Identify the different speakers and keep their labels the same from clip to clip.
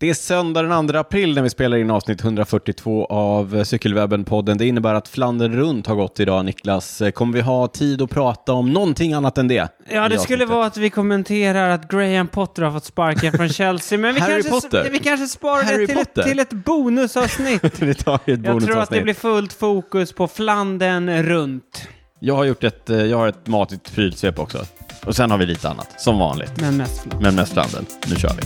Speaker 1: Det är söndag den 2 april när vi spelar in avsnitt 142 av Cykelwebben-podden. Det innebär att Flandern runt har gått idag, Niklas. Kommer vi ha tid att prata om någonting annat än det?
Speaker 2: Ja, det
Speaker 1: i
Speaker 2: skulle
Speaker 1: avsnittet?
Speaker 2: vara att vi kommenterar att Graham Potter har fått sparken från Chelsea, men vi,
Speaker 1: Harry
Speaker 2: kanske,
Speaker 1: Potter.
Speaker 2: vi kanske sparar
Speaker 1: Harry
Speaker 2: det till
Speaker 1: Potter.
Speaker 2: ett, till ett bonusavsnitt.
Speaker 1: vi tar ju ett
Speaker 2: Jag tror att det
Speaker 1: bonusavsnitt.
Speaker 2: blir fullt fokus på Flandern runt,
Speaker 1: Jag har gjort ett, eh, jag har ett matigt prylsvep också. Och sen har vi lite annat, som vanligt.
Speaker 2: men mest Flandern.
Speaker 1: Men mest Flandern. Nu kör vi.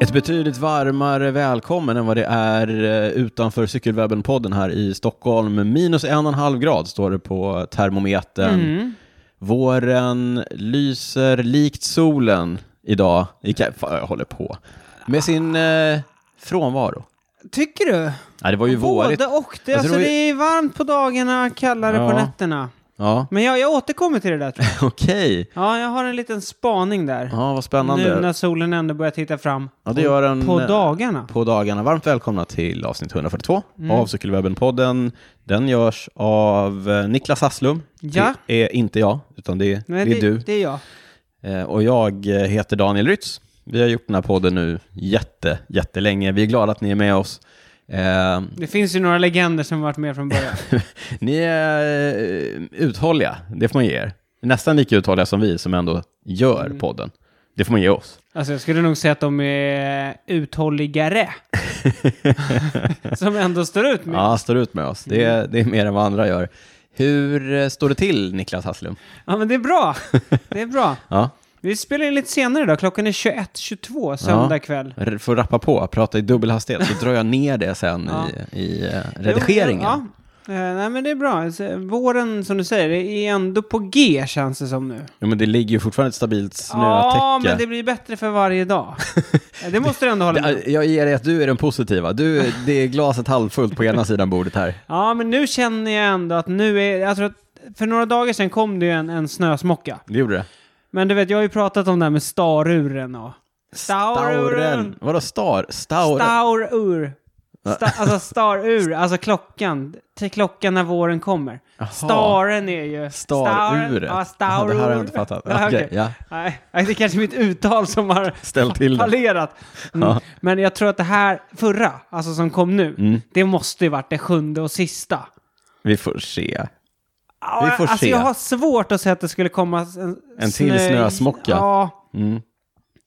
Speaker 1: Ett betydligt varmare välkommen än vad det är eh, utanför Cykelwebben-podden här i Stockholm. Minus en och en halv grad står det på termometern.
Speaker 2: Mm.
Speaker 1: Våren lyser likt solen idag. I Ka- Fan, jag håller på. Med sin eh, frånvaro.
Speaker 2: Tycker du?
Speaker 1: Nej, det var ju vårigt.
Speaker 2: Både och. Det,
Speaker 1: Jag tror
Speaker 2: alltså,
Speaker 1: vi-
Speaker 2: det är varmt på dagarna, kallare på
Speaker 1: Ja.
Speaker 2: nätterna.
Speaker 1: Ja,
Speaker 2: Men jag, jag återkommer till det där tror jag.
Speaker 1: okej.
Speaker 2: Ja, jag har en liten spaning där.
Speaker 1: Ja, vad
Speaker 2: Nu när
Speaker 1: spännande.
Speaker 2: solen ändå börjar titta fram
Speaker 1: Ja, det gör en,
Speaker 2: på
Speaker 1: eh,
Speaker 2: dagarna.
Speaker 1: På dagarna. Varmt välkomna till avsnitt 142
Speaker 2: Mm.
Speaker 1: av Cykelwebben-podden. Den görs av eh, Niklas Hasslum.
Speaker 2: Ja.
Speaker 1: Det är inte jag, utan det är,
Speaker 2: Nej,
Speaker 1: det är du.
Speaker 2: Det är jag.
Speaker 1: Eh, Och jag eh, heter Daniel Rytz. Vi har gjort den här podden nu jätte, jättelänge. Vi är glada att ni är med oss. Eh,
Speaker 2: Det finns ju några legender som varit med från början.
Speaker 1: ni är eh, uthålliga, det får man ge er. Nästan lika uthålliga som vi som ändå gör
Speaker 2: Mm.
Speaker 1: podden. Det får man ge oss.
Speaker 2: Alltså jag skulle nog säga att de är uthålligare. som ändå står ut med.
Speaker 1: Ja, står ut med oss. Det är,
Speaker 2: Mm.
Speaker 1: det är mer än vad andra gör. Hur eh, står det till, Niklas Hasslum?
Speaker 2: Ja men det är bra. Det är bra.
Speaker 1: Ja,
Speaker 2: Vi spelar in lite senare idag. Klockan är 21.22 söndag kväll.
Speaker 1: r- får rappa på, prata i dubbel hastighet, så drar jag ner det sen i, i eh, redigeringen.
Speaker 2: Jo, Ja. Eh, Nej men det är bra. Alltså, Våren som du säger det är ändå på G känns det som nu.
Speaker 1: Jo, men det ligger ju fortfarande ett stabilt snötäcke.
Speaker 2: Ja men det blir bättre för varje dag. Eh, det måste du ändå hålla med om.
Speaker 1: Det- Jag ger dig att du är den positiva. Du, det är glaset halvfullt på ena sidan bordet här.
Speaker 2: Ja men nu känner jag ändå att nu är... Jag tror att för några dagar sedan kom det ju en, en snösmocka.
Speaker 1: Det gjorde det.
Speaker 2: Men du vet, jag har ju pratat om det här med staruren och...
Speaker 1: Stauren. Vadå star? Stauren?
Speaker 2: Staurur. Sta, alltså starur, alltså klockan. Till klockan när våren kommer. Staren är ju...
Speaker 1: Staruret.
Speaker 2: Ja,
Speaker 1: Jaha,
Speaker 2: staurur.
Speaker 1: det här har jag inte fattat.
Speaker 2: Nej,
Speaker 1: Okej,
Speaker 2: okej.
Speaker 1: ja.
Speaker 2: Nej, det är kanske mitt uttal som har
Speaker 1: Ställ till det.
Speaker 2: fallerat. Mm.
Speaker 1: Ja. Mm.
Speaker 2: Men jag tror att det här förra, alltså som kom nu, det måste ju varit det sjunde och sista.
Speaker 1: Vi får se.
Speaker 2: Ja,
Speaker 1: Vi får
Speaker 2: alltså
Speaker 1: se.
Speaker 2: jag har svårt att säga att det skulle komma en,
Speaker 1: En till
Speaker 2: snö-
Speaker 1: snösmocka.
Speaker 2: Ja.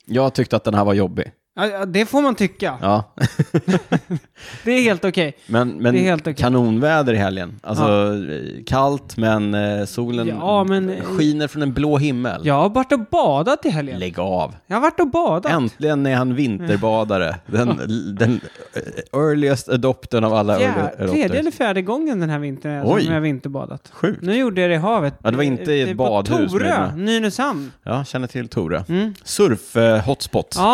Speaker 1: Jag tyckte att den här var jobbig.
Speaker 2: Ja, ja, det får man tycka.
Speaker 1: Ja.
Speaker 2: Det är helt okej.
Speaker 1: Men, men
Speaker 2: Det är helt okej.
Speaker 1: kanonväder i helgen. Alltså eh, kallt men eh, solen
Speaker 2: Ja, men- eh,
Speaker 1: skiner från en blå himmel.
Speaker 2: Jag har varit och badat i helgen.
Speaker 1: Lägg av.
Speaker 2: Jag har varit och badat.
Speaker 1: Äntligen är han vinterbadare. Den, den eh, earliest adopten av alla
Speaker 2: Fjär,
Speaker 1: early
Speaker 2: tredje
Speaker 1: adopters.
Speaker 2: eller fjärde gången den här vintern
Speaker 1: Oj.
Speaker 2: som jag har vinterbadat.
Speaker 1: Sjukt.
Speaker 2: Nu gjorde jag det i havet.
Speaker 1: Ja, det var inte i ett
Speaker 2: På
Speaker 1: badhus,
Speaker 2: Torö,
Speaker 1: men-
Speaker 2: Nynäshamn.
Speaker 1: Ja, känner till Tore. eh, Surf-hotspot.
Speaker 2: Mm.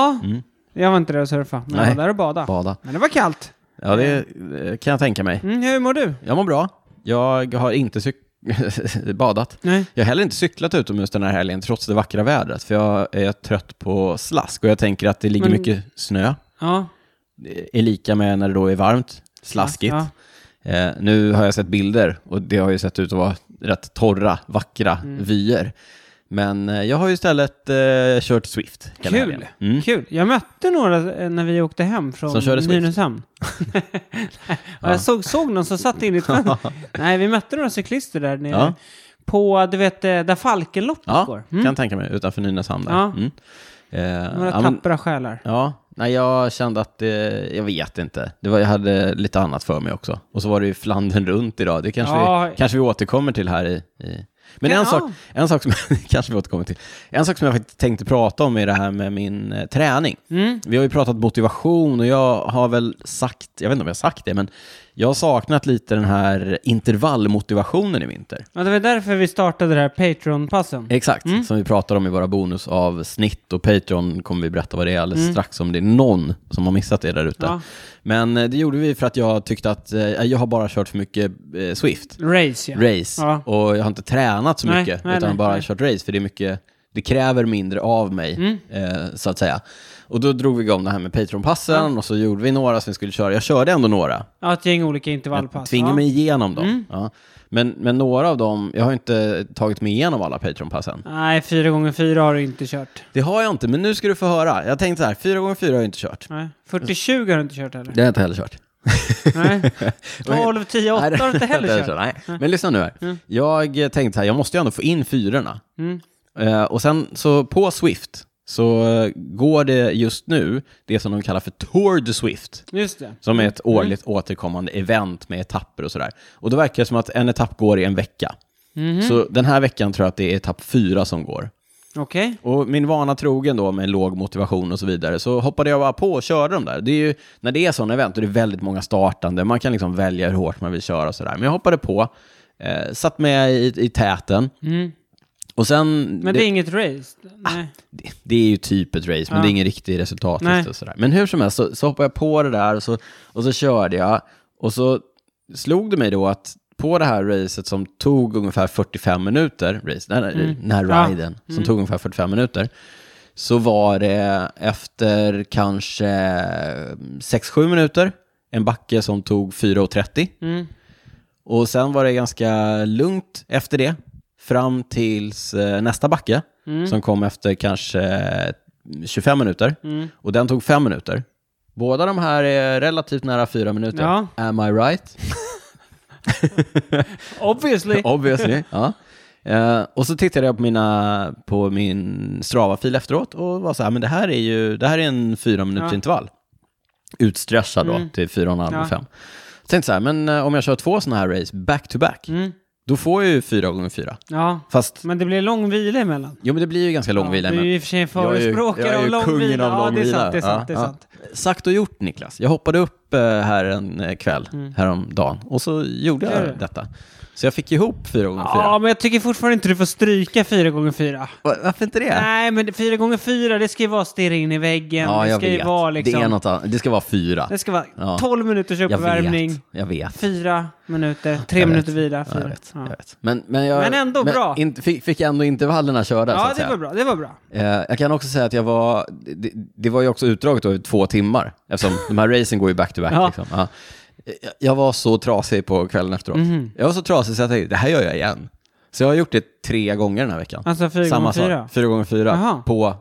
Speaker 2: Ja, jag var inte där och surfa,
Speaker 1: Mm.
Speaker 2: men
Speaker 1: Nej.
Speaker 2: jag var där och badade.
Speaker 1: Bada.
Speaker 2: Men det var kallt.
Speaker 1: Ja, det eh, kan jag tänka mig.
Speaker 2: Mm, hur mår du?
Speaker 1: Jag mår bra. Jag har inte cyk- badat.
Speaker 2: Nej.
Speaker 1: Jag har heller inte cyklat utomhus den här helgen, trots det vackra vädret, för jag är trött på slask och jag tänker att det ligger
Speaker 2: Men-
Speaker 1: mycket snö.
Speaker 2: Ja.
Speaker 1: Det är lika med när det då är varmt, slaskigt.
Speaker 2: Ja.
Speaker 1: Eh, nu har jag sett bilder och det har ju sett ut att vara rätt torra, vackra
Speaker 2: Mm.
Speaker 1: vyer. Men eh, jag har ju istället eh, kört Swift hela helgen.
Speaker 2: Kul.
Speaker 1: Mm.
Speaker 2: Kul. Jag mötte några eh, när vi åkte hem
Speaker 1: Som
Speaker 2: från
Speaker 1: körde Swift.
Speaker 2: Nynäshamn. ja. Jag såg, såg någon som satt in i ett fönster. Nej, vi mötte några cyklister där nere.
Speaker 1: Ja.
Speaker 2: På, du vet, eh, där Falkenloppet
Speaker 1: Ja,
Speaker 2: går. Mm.
Speaker 1: kan tänka mig, utanför Nynäshamn där.
Speaker 2: Ja.
Speaker 1: Mm. Eh,
Speaker 2: Några
Speaker 1: ja, men-
Speaker 2: tappra själar.
Speaker 1: Ja, nej jag kände att, eh, jag vet inte. Det var, jag hade lite annat för mig också. Och så var det ju Flandern runt idag. Det kanske,
Speaker 2: Ja.
Speaker 1: vi, kanske vi återkommer till här i... i. Men
Speaker 2: Ja.
Speaker 1: en sak, en sak som kanske vi återkommer till. En sak som jag faktiskt tänkte prata om är det här med min eh,
Speaker 2: mm.
Speaker 1: träning. Vi har ju pratat motivation och jag har väl sagt, jag vet inte om jag har sagt det, men Jag har saknat lite den här intervallmotivationen i vinter.
Speaker 2: Ja, det var därför vi startade det här Patreon-passen.
Speaker 1: Exakt, som vi pratar om i våra bonusavsnitt och Patreon kommer vi berätta vad det är alldeles strax om det är någon som har missat det där ute.
Speaker 2: Mm. Ja.
Speaker 1: Men eh, det gjorde vi för att jag tyckte att eh, jag har bara kört för mycket eh, Swift,
Speaker 2: Race, ja.
Speaker 1: race,
Speaker 2: Ja.
Speaker 1: och jag har inte tränat så
Speaker 2: Nej,
Speaker 1: mycket
Speaker 2: nej,
Speaker 1: utan
Speaker 2: nej,
Speaker 1: bara
Speaker 2: nej. Mm.
Speaker 1: kört race för det är mycket det kräver mindre av mig, eh, så att säga. Och då drog vi igång det här med Patreon-passen och så gjorde vi några som vi skulle köra. Jag körde ändå några,
Speaker 2: ja, ett gäng olika
Speaker 1: jag
Speaker 2: intervallpass.
Speaker 1: tvingar
Speaker 2: ja. Mm.
Speaker 1: mig igenom dem. Ja. Men, men några av dem, jag har inte tagit mig igenom alla Patreon-passen.
Speaker 2: Nej, fyra gånger fyra har du inte kört.
Speaker 1: Det har jag inte, men nu ska du få höra. Jag tänkte så här, 4 gånger 4 har jag inte kört.
Speaker 2: Nej. 40-20 har du inte kört heller.
Speaker 1: Det har jag inte heller kört.
Speaker 2: Nej. 12, 10, 8 har du inte heller Mm. kört.
Speaker 1: Nej. Men lyssna nu här. Jag tänkte så här, jag måste ju ändå få in fyrorna.
Speaker 2: Mm.
Speaker 1: Eh, och sen så på Swift så eh, går det just nu det som de kallar för Tour de Swift.
Speaker 2: Just det.
Speaker 1: Som är ett årligt återkommande event med etapper och sådär. Och då verkar det som att en etapp går i en vecka.
Speaker 2: Mm-hmm.
Speaker 1: Så den här veckan tror jag att det är etapp fyra som går.
Speaker 2: Okej.
Speaker 1: Och min vana trogen då med låg motivation och så vidare så hoppade jag bara på och körde de där. Det är ju, när det är sådana event och det är väldigt många startande, man kan liksom välja hur hårt man vill köra och sådär. Men jag hoppade på, eh, satt med i, i täten
Speaker 2: Mm.
Speaker 1: och sen...
Speaker 2: Men det, är inget race?
Speaker 1: Ah.
Speaker 2: Nej.
Speaker 1: det, det är ju typ ett race, men
Speaker 2: Ja.
Speaker 1: det är ingen riktig resultatlista
Speaker 2: Nej.
Speaker 1: och sådär. Men hur som helst så, så hoppade jag på det där och så, och så körde jag. Och så slog det mig då att på det här racet som tog ungefär 45 minuter, race, den, här- den
Speaker 2: Mm. Ja. Mm.
Speaker 1: här riden som tog ungefär 45 minuter, så var det efter kanske 6-7 minuter en backe som tog 4.30.
Speaker 2: Mm.
Speaker 1: Och sen var det ganska lugnt efter det, fram tills eh, nästa backe,
Speaker 2: Mm.
Speaker 1: som kom efter kanske eh, 25 minuter.
Speaker 2: Mm.
Speaker 1: Och den tog 5 minuter. Båda de här är relativt nära 4 minuter.
Speaker 2: Ja.
Speaker 1: Am I right?
Speaker 2: Obviously.
Speaker 1: Obviously. ja. Eh, och så tittade jag på, mina, på min Strava-fil efteråt och var så här, men det här är ju det här är en fyra minuters
Speaker 2: Ja. Mm.
Speaker 1: intervall. Utstressad då till fyra och en halv
Speaker 2: Ja.
Speaker 1: och fem. Tänkte så här, men eh, om jag kör två sådana här race back to back,
Speaker 2: Mm.
Speaker 1: då får jag ju fyra gånger fyra.
Speaker 2: Ja.
Speaker 1: Fast,
Speaker 2: Men det blir lång vila emellan.
Speaker 1: jo men det blir ju ganska lång vila.
Speaker 2: Ja, du är
Speaker 1: men
Speaker 2: ju i och för sig en
Speaker 1: jag är ju-
Speaker 2: förespråkare
Speaker 1: jag är
Speaker 2: av
Speaker 1: ju
Speaker 2: lång
Speaker 1: kungen
Speaker 2: vila.
Speaker 1: av
Speaker 2: Ja,
Speaker 1: lång
Speaker 2: det är
Speaker 1: vila.
Speaker 2: sant. Det är sant.
Speaker 1: Ja,
Speaker 2: det är
Speaker 1: ja.
Speaker 2: sant.
Speaker 1: Sagt och gjort Niklas. Jag hoppade upp eh, här en eh, kväll häromdagen och så gjorde
Speaker 2: Mm. Gör du?
Speaker 1: jag detta. Så jag fick ihop fyra gånger fyra.
Speaker 2: Ja, men jag tycker fortfarande inte du får stryka 4 gånger 4
Speaker 1: Va- Varför inte det?
Speaker 2: Nej, men 4 gånger 4 det ska ju vara stirra in i väggen.
Speaker 1: Ja,
Speaker 2: det
Speaker 1: jag
Speaker 2: ska ju
Speaker 1: vet.
Speaker 2: vara liksom...
Speaker 1: Det är något annat. Det ska vara fyra.
Speaker 2: Det ska vara
Speaker 1: Ja.
Speaker 2: 12 minuters
Speaker 1: Jag
Speaker 2: uppvärmning,
Speaker 1: vet. Jag vet.
Speaker 2: 4 minuter, 3
Speaker 1: Jag vet.
Speaker 2: minuter vila,
Speaker 1: Ja, jag
Speaker 2: 4.
Speaker 1: vet.
Speaker 2: Ja,
Speaker 1: Jag vet. Men, men, jag,
Speaker 2: Men ändå bra.
Speaker 1: in- fick, fick ändå intervallerna körda. så
Speaker 2: ja
Speaker 1: att
Speaker 2: det
Speaker 1: säga.
Speaker 2: var bra. Det var bra.
Speaker 1: Eh, jag kan också säga att jag var, det, det var ju också utdraget över två timmar, eftersom de här racen går ju back to back.
Speaker 2: Ja.
Speaker 1: Liksom. Ja. Eh, Jag var så trasig på kvällen efteråt.
Speaker 2: Mhm.
Speaker 1: Jag var så trasig så jag tänkte, det här gör jag igen. Så jag har gjort det tre gånger den här veckan.
Speaker 2: Alltså 4
Speaker 1: Samma
Speaker 2: gånger
Speaker 1: sak,
Speaker 2: 4
Speaker 1: fyra gånger fyra
Speaker 2: Jaha.
Speaker 1: på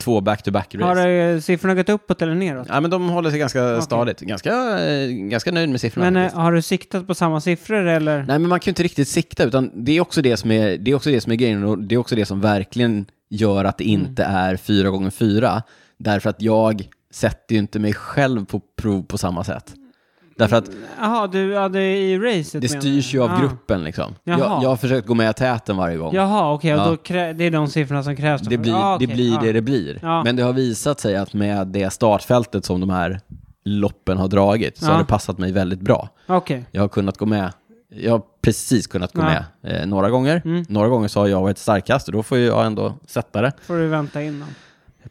Speaker 1: två back to back race.
Speaker 2: Har eh, siffrorna gått uppåt eller neråt?
Speaker 1: Ja, men de håller sig ganska stadigt. Ganska, eh, ganska nöjd med siffrorna.
Speaker 2: Men
Speaker 1: faktiskt.
Speaker 2: eh, har du siktat på samma siffror eller?
Speaker 1: Nej, men man kan ju inte riktigt sikta, utan det är också det som är, det är, också det som är grejen och det är också det som verkligen gör att det
Speaker 2: Mm.
Speaker 1: inte är fyra gånger fyra. Därför att jag sätter ju inte mig själv på prov på samma sätt. Därför att
Speaker 2: Jaha, du hade i racet
Speaker 1: det
Speaker 2: menar
Speaker 1: styrs
Speaker 2: du?
Speaker 1: ju av
Speaker 2: Mm. Ja.
Speaker 1: gruppen liksom. Jag,
Speaker 2: Jaha.
Speaker 1: jag har försökt gå med i täten varje gång.
Speaker 2: Jaha, okej, och
Speaker 1: Ja.
Speaker 2: då krä- det är de siffrorna som krävs. då
Speaker 1: Det
Speaker 2: för-
Speaker 1: blir,
Speaker 2: Ja,
Speaker 1: det,
Speaker 2: okej,
Speaker 1: blir
Speaker 2: ja.
Speaker 1: det det blir.
Speaker 2: Ja.
Speaker 1: Men det har visat sig att med det startfältet som de här loppen har dragit så
Speaker 2: Ja.
Speaker 1: har det passat mig väldigt bra.
Speaker 2: Okej.
Speaker 1: Jag har kunnat gå med. Jag har precis kunnat gå
Speaker 2: Ja. Mm.
Speaker 1: med eh, några gånger. Några gånger så har jag varit starkast och då får ju jag ändå sätta det
Speaker 2: får du vänta in dem.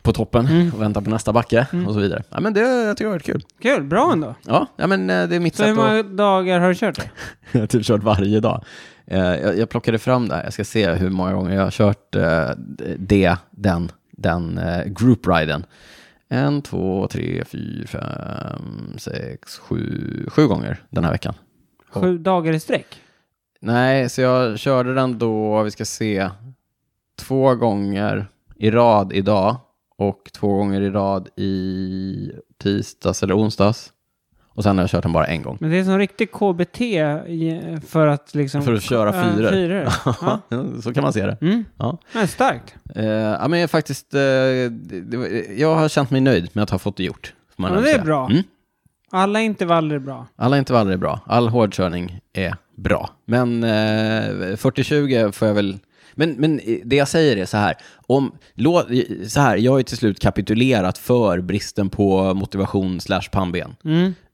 Speaker 1: på toppen
Speaker 2: Mm.
Speaker 1: och vänta på nästa backe och så vidare. Ja, men det jag tycker jag har varit kul.
Speaker 2: Kul, bra ändå.
Speaker 1: Ja, ja men eh, det är mitt
Speaker 2: Så hur
Speaker 1: sätt att...
Speaker 2: många dagar har du kört?
Speaker 1: Jag har typ kört varje dag. Eh, jag, jag plockade fram det här. Jag ska se hur många gånger jag har kört eh, det, den, den eh, group-riden. En, två, tre, fyra, fem, sex, sju, sju gånger den här veckan.
Speaker 2: Sju dagar i sträck?
Speaker 1: Nej, så jag körde den då, vi ska se, två gånger i rad idag och två gånger i rad i tisdags eller onsdags. Och sen har jag kört den bara en gång.
Speaker 2: Men det är som riktig KBT i- för att liksom...
Speaker 1: För att köra
Speaker 2: Ja,
Speaker 1: fyror.
Speaker 2: fyror. Ja.
Speaker 1: så kan man se det.
Speaker 2: Mm.
Speaker 1: Ja.
Speaker 2: Men starkt.
Speaker 1: Eh, ja, men jag, faktiskt, eh, det, det, var- jag har känt mig nöjd med att ha fått det gjort. får man
Speaker 2: Ja, men
Speaker 1: ändå
Speaker 2: det är
Speaker 1: säga.
Speaker 2: bra.
Speaker 1: Mm.
Speaker 2: Alla intervaller är bra.
Speaker 1: Alla intervaller är bra. All hårdkörning är bra. Men eh, 40-20 får jag väl... Men, men det jag säger är så här, om, lå, så här, jag har ju till slut kapitulerat för bristen på motivation slash pannben.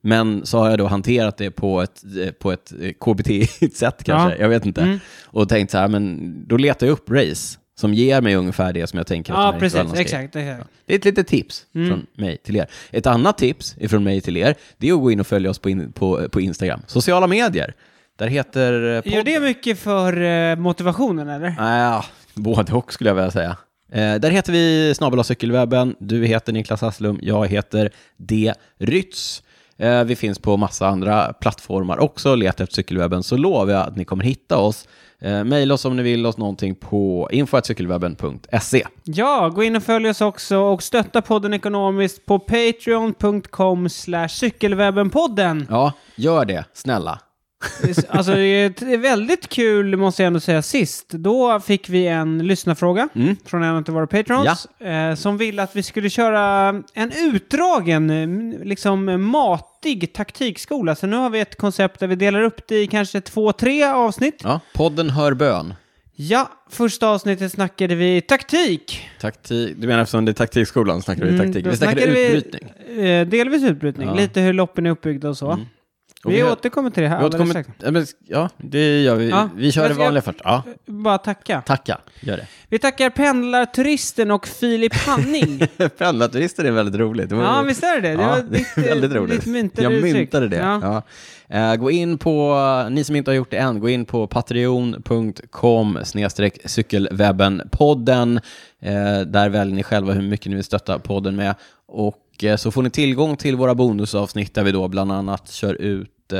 Speaker 1: Men så har jag då hanterat det på ett, eh, på ett KBT-igt sätt kanske,
Speaker 2: Ja. Mm.
Speaker 1: jag vet inte. Och tänkt så här, men då letar jag upp race som ger mig ungefär det som jag tänker att den
Speaker 2: Ja,
Speaker 1: här
Speaker 2: precis.
Speaker 1: intervallen ska ge.
Speaker 2: Exakt. exakt.
Speaker 1: Det är ett litet tips från mig till er. Ett annat tips från mig till er, det är att gå in och följa oss på, in, på, på Instagram. Sociala medier. Där heter eh,
Speaker 2: Gör
Speaker 1: podden...
Speaker 2: det mycket för eh, motivationen, eller?
Speaker 1: Ah, både och skulle jag vilja säga. Eh, där heter vi snabel cykelwebben. Du heter Niklas Hasslum, jag heter D. Rytz. Eh, vi finns på massa andra plattformar också. Leta efter cykelwebben så lovar jag att ni kommer hitta oss. Eh, Maila oss om ni vill oss någonting på info.cykelwebben.se.
Speaker 2: Ja, gå in och följ oss också och stötta podden ekonomiskt på patreon.com slash cykelwebbenpodden.
Speaker 1: Ja, gör det, snälla.
Speaker 2: Alltså det är ett- det är väldigt kul måste jag ändå säga sist. Då fick vi en lyssnarfråga från en av våra patrons eh, som ville att vi skulle köra en utdragen, eh, liksom matig taktikskola. Så nu har vi ett koncept där vi delar upp det i kanske två, tre avsnitt.
Speaker 1: Ja, podden Hör bön.
Speaker 2: Ja, första avsnittet snackade vi taktik.
Speaker 1: Taktik, du menar eftersom det är taktikskolan snackar vi taktik.
Speaker 2: Mm, då
Speaker 1: Vi snackade
Speaker 2: snackade vi-
Speaker 1: utbrytning.
Speaker 2: Eh, delvis utbrytning,
Speaker 1: Ja. Mm.
Speaker 2: lite hur loppen är uppbyggda och så.
Speaker 1: Och
Speaker 2: vi,
Speaker 1: vi har-
Speaker 2: återkommer till det här
Speaker 1: Vi
Speaker 2: alldeles
Speaker 1: återkommer,
Speaker 2: strax.
Speaker 1: ja, men- ja, det gör vi.
Speaker 2: Ja,
Speaker 1: Vi kör
Speaker 2: jag
Speaker 1: det
Speaker 2: ska-
Speaker 1: vanliga först. Ja,
Speaker 2: Bara tacka.
Speaker 1: tacka. Gör det.
Speaker 2: Vi tackar pendlarturisten och Filip Hanning.
Speaker 1: Pendlarturister är väldigt roligt. Det var-
Speaker 2: ja, visst är det? Det
Speaker 1: Ja,
Speaker 2: var
Speaker 1: det är
Speaker 2: ditt, eh,
Speaker 1: väldigt roligt.
Speaker 2: ditt myntade
Speaker 1: jag
Speaker 2: uttryck.
Speaker 1: myntade det.
Speaker 2: Ja.
Speaker 1: Ja. Eh, gå in på, ni som inte har gjort det än, gå in på patreon.com snedstreck cykelwebbenpodden. Eh, där väljer ni själva hur mycket ni vill stötta podden med. Och eh, så får ni tillgång till våra bonusavsnitt där vi då bland annat kör ut eh,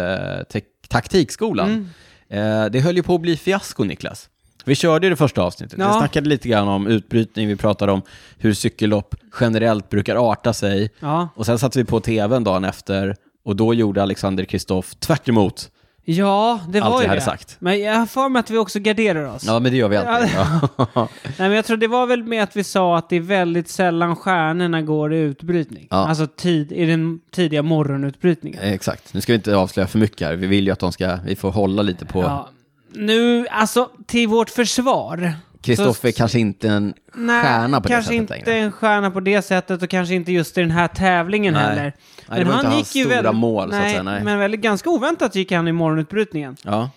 Speaker 1: tek- taktikskolan.
Speaker 2: Mm.
Speaker 1: Eh, det höll ju på att bli fiasko, Niklas. Vi körde ju det första avsnittet. Vi
Speaker 2: Ja.
Speaker 1: snackade lite grann om utbrytning, vi pratade om hur cykellopp generellt brukar arta sig.
Speaker 2: Ja.
Speaker 1: Och sen satte vi på tvn dagen efter och då gjorde Alexander Kristoff tvärt emot.
Speaker 2: ja, det
Speaker 1: Allt
Speaker 2: var
Speaker 1: vi
Speaker 2: ju
Speaker 1: hade
Speaker 2: det.
Speaker 1: sagt.
Speaker 2: Men jag har för mig att vi också garderar oss.
Speaker 1: Ja, men det gör vi alltid. Ja.
Speaker 2: Nej, men jag tror det var väl med att vi sa att det är väldigt sällan stjärnorna går i utbrytning.
Speaker 1: Ja.
Speaker 2: Alltså tid, i den tidiga morgonutbrytningen.
Speaker 1: Eh, Exakt. Nu ska vi inte avslöja för mycket här. Vi vill ju att de ska, vi får hålla lite på.
Speaker 2: Ja. Nu, alltså till vårt försvar.
Speaker 1: Kristoffer
Speaker 2: så-
Speaker 1: är kanske inte en stjärna på det
Speaker 2: kanske
Speaker 1: sättet
Speaker 2: inte
Speaker 1: längre.
Speaker 2: en stjärna på det sättet och kanske inte just i den här tävlingen
Speaker 1: Nej.
Speaker 2: heller.
Speaker 1: Nej, det var inte hans stora mål, så att
Speaker 2: nej,
Speaker 1: säga, nej.
Speaker 2: men väldigt ganska oväntat gick han i morgonutbrytningen.
Speaker 1: Ja.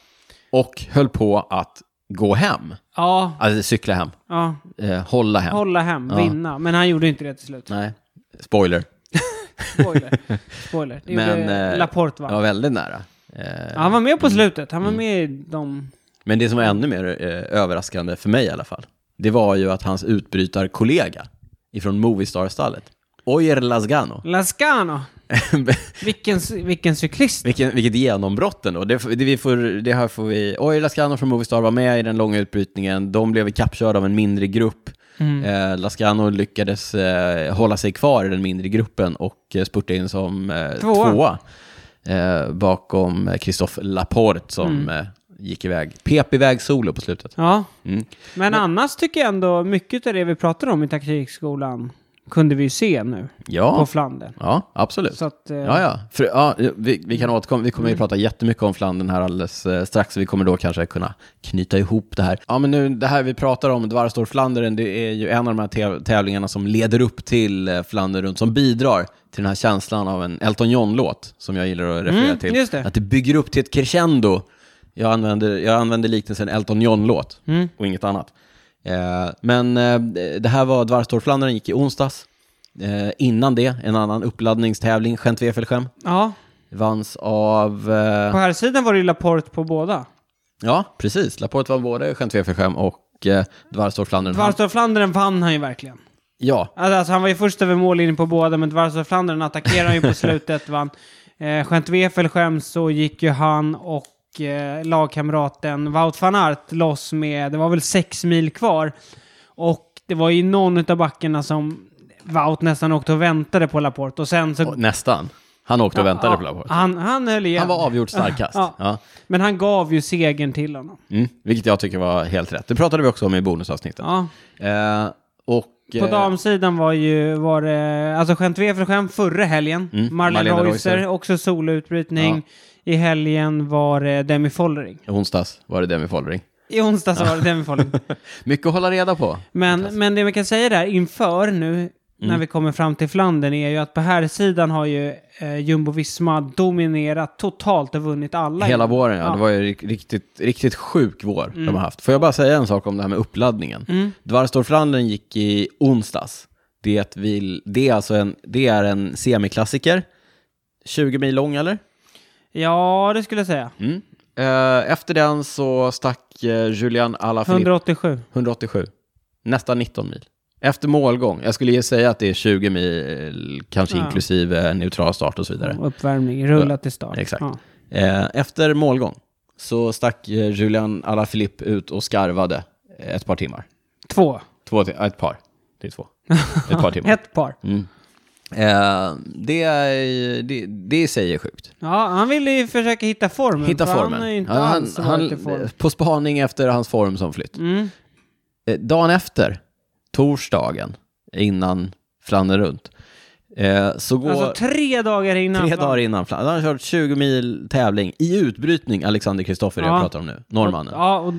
Speaker 1: Och höll på att gå hem.
Speaker 2: Ja,
Speaker 1: Alltså cykla hem.
Speaker 2: ja.
Speaker 1: Eh, hålla hem.
Speaker 2: hålla hem,
Speaker 1: Ja.
Speaker 2: vinna. Men han gjorde inte det till slut.
Speaker 1: Nej. Spoiler.
Speaker 2: Spoiler. Spoiler. Det
Speaker 1: Men,
Speaker 2: gjorde
Speaker 1: eh,
Speaker 2: Laporte va?
Speaker 1: Ja, Mm. väldigt nära. Eh,
Speaker 2: Han var med på slutet, han var med i de...
Speaker 1: Men det som var ännu mer eh, överraskande för mig i alla fall, det var ju att hans utbrytarkollega ifrån Movistar-stallet, Oyer Lasgano,
Speaker 2: Lascano! Vilken, vilken cyklist!
Speaker 1: Vilken, vilket genombrott ändå. Det, det, vi får, det här får vi... Oyer Lascano från Movistar var med i den långa utbrytningen. De blev kappkörda av en mindre grupp. Eh, Lascano lyckades eh, hålla sig kvar i den mindre gruppen och eh, spurta in som eh,
Speaker 2: Tvåa.
Speaker 1: tvåa, eh, bakom eh, Christophe Laporte som eh, gick iväg, pep iväg solo på slutet.
Speaker 2: Ja.
Speaker 1: Mm.
Speaker 2: Men, annars tycker jag ändå mycket av det vi pratade om i taktikskolan kunde vi ju se nu
Speaker 1: Ja.
Speaker 2: på Flandern.
Speaker 1: Ja, absolut.
Speaker 2: Så att, eh, Mm.
Speaker 1: Ja, ja. För, ja vi, vi kan återkomma. Vi kommer ju prata jättemycket om Flandern här alldeles eh, strax, så vi kommer då kanske kunna knyta ihop det här. Ja, men nu, det här vi pratar om, Dvarstor Flandern, det är ju en av de här täv- tävlingarna som leder upp till eh, Flandern runt, som bidrar till den här känslan av en Elton John-låt, som jag gillar att referera
Speaker 2: Mm,
Speaker 1: till.
Speaker 2: just det.
Speaker 1: Att det bygger upp till ett crescendo. Jag använder, jag använder liknelsen Elton John-låt
Speaker 2: Mm.
Speaker 1: och inget annat. Eh, men eh, det här var Dvarstorflandern, gick i onsdags. Eh, innan det, en annan uppladdningstävling, Gent-Wefelgem,
Speaker 2: Ja,
Speaker 1: vanns av...
Speaker 2: på
Speaker 1: Eh,
Speaker 2: här sidan var det ju Laporte på båda.
Speaker 1: ja, precis. Laporte vann både Gent-Wefelgem och eh, Dvarstorflandern.
Speaker 2: Dvarstorp Flandern vann han ju verkligen.
Speaker 1: Ja,
Speaker 2: Alltså han var ju först över mållinjen på båda, men Dvarstorp Flandern attackerade han ju på slutet, vann. Eh, Gent Wefelgem så gick ju han och eh, lagkamraten Wout van Aert loss med, det var väl sex mil kvar. Och det var ju någon av backarna som Wout nästan åkte och väntade på Laporte och sen så...
Speaker 1: och nästan. Han åkte och väntade
Speaker 2: Ja,
Speaker 1: på Laporte.
Speaker 2: Han, han höll igen.
Speaker 1: Han var avgjort starkast.
Speaker 2: Ja.
Speaker 1: Ja.
Speaker 2: Men han gav ju segern till honom.
Speaker 1: Mm, vilket jag tycker var helt rätt. Det pratade vi också om i bonusavsnittet.
Speaker 2: Ja.
Speaker 1: Eh, och,
Speaker 2: På
Speaker 1: eh,
Speaker 2: damsidan var ju, var det, alltså skämt V för skämt förra helgen.
Speaker 1: Mm,
Speaker 2: Marlene
Speaker 1: Marlene
Speaker 2: Reusser,
Speaker 1: Reusser.
Speaker 2: också soloutbrytning. I helgen var det Demi Follering.
Speaker 1: onsdags var det Demi Follering.
Speaker 2: I onsdags var det Denverfolin.
Speaker 1: Mycket att hålla reda på.
Speaker 2: Men, men det vi kan säga där inför nu,
Speaker 1: Mm.
Speaker 2: när vi kommer fram till Flandern, är ju att på här sidan har ju eh, Jumbo-Visma dominerat totalt och vunnit alla.
Speaker 1: Hela våren, ja. Det var ju rik- riktigt, riktigt sjuk vår de har haft. Får jag bara säga en sak om det här med uppladdningen? Mm. Dvarstorflandern gick i onsdags. Det, vill, det, är alltså en, det är en semiklassiker. 20 mil lång, eller?
Speaker 2: Ja, det skulle jag säga.
Speaker 1: Mm. Eh, efter den så stack eh, Julian Alaphilippe
Speaker 2: 187.
Speaker 1: 187. Nästan 19 mil. Efter målgång. Jag skulle ju säga att det är 20 mil, kanske
Speaker 2: Ja.
Speaker 1: inklusive neutral start och så vidare.
Speaker 2: Uppvärmning, rulla till start.
Speaker 1: Exakt.
Speaker 2: Ja.
Speaker 1: Eh, efter målgång så stack eh, Julian Alaphilippe ut och skarvade eh, ett par timmar.
Speaker 2: Två.
Speaker 1: Två ti- ja, ett par. Det är två. Ett par timmar.
Speaker 2: Ett par.
Speaker 1: Mm. Eh, det, är- det, det säger sjukt.
Speaker 2: Ja, han ville ju försöka hitta formen.
Speaker 1: Hitta
Speaker 2: för
Speaker 1: formen.
Speaker 2: Han har ju inte
Speaker 1: Ja,
Speaker 2: alls varit i form.
Speaker 1: på spaning efter hans form som flytt.
Speaker 2: Mm.
Speaker 1: Eh, dagen efter, torsdagen, innan Flandern runt, eh, så går...
Speaker 2: Alltså tre dagar innan.
Speaker 1: Tre dagar innan Flandern. Han har kört 20 mil tävling i utbrytning, Alexander Kristoffer, jag
Speaker 2: Ja.
Speaker 1: pratar om nu. Norrmannen.
Speaker 2: Ja, och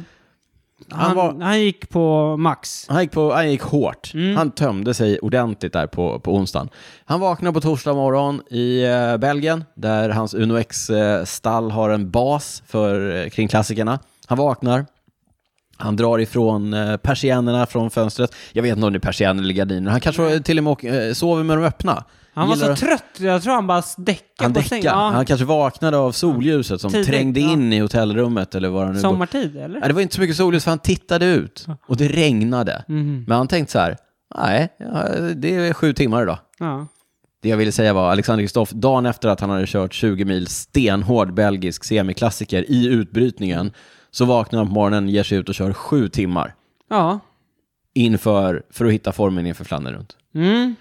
Speaker 2: han,
Speaker 1: var-
Speaker 2: han, gick på max.
Speaker 1: Han gick, på, han gick hårt.
Speaker 2: Mm.
Speaker 1: Han tömde sig ordentligt där på, på onsdagen. Han vaknade på torsdag morgon i eh, Belgien, där hans Uno X-stall har en bas för, eh, kring klassikerna. Han vaknar. Han drar ifrån eh, persiennerna från fönstret. Jag vet inte om det är persienner eller gardiner. Han kanske till och med åker- eh, sover med dem öppna.
Speaker 2: Mm. Han var
Speaker 1: Gillar
Speaker 2: så
Speaker 1: att-
Speaker 2: trött, jag tror han bara däckade
Speaker 1: han
Speaker 2: på
Speaker 1: däckar.
Speaker 2: sängen. Ja,
Speaker 1: Han kanske vaknade av solljuset som
Speaker 2: Tidigt,
Speaker 1: trängde
Speaker 2: ja.
Speaker 1: in i hotellrummet eller vad han nu bor.
Speaker 2: sommartid eller?
Speaker 1: Nej, det var inte så mycket solljus för han tittade ut och det regnade. Men han tänkte så här, nej, ja, det är sju timmar idag.
Speaker 2: Ja.
Speaker 1: Det jag ville säga var Alexander Kristoff, dagen efter att han hade kört 20 mil stenhård belgisk semiklassiker i utbrytningen, så vaknar han på morgonen, ger sig ut och kör sju timmar
Speaker 2: ja.
Speaker 1: inför, för att hitta formen inför Flandern runt.
Speaker 2: Mm.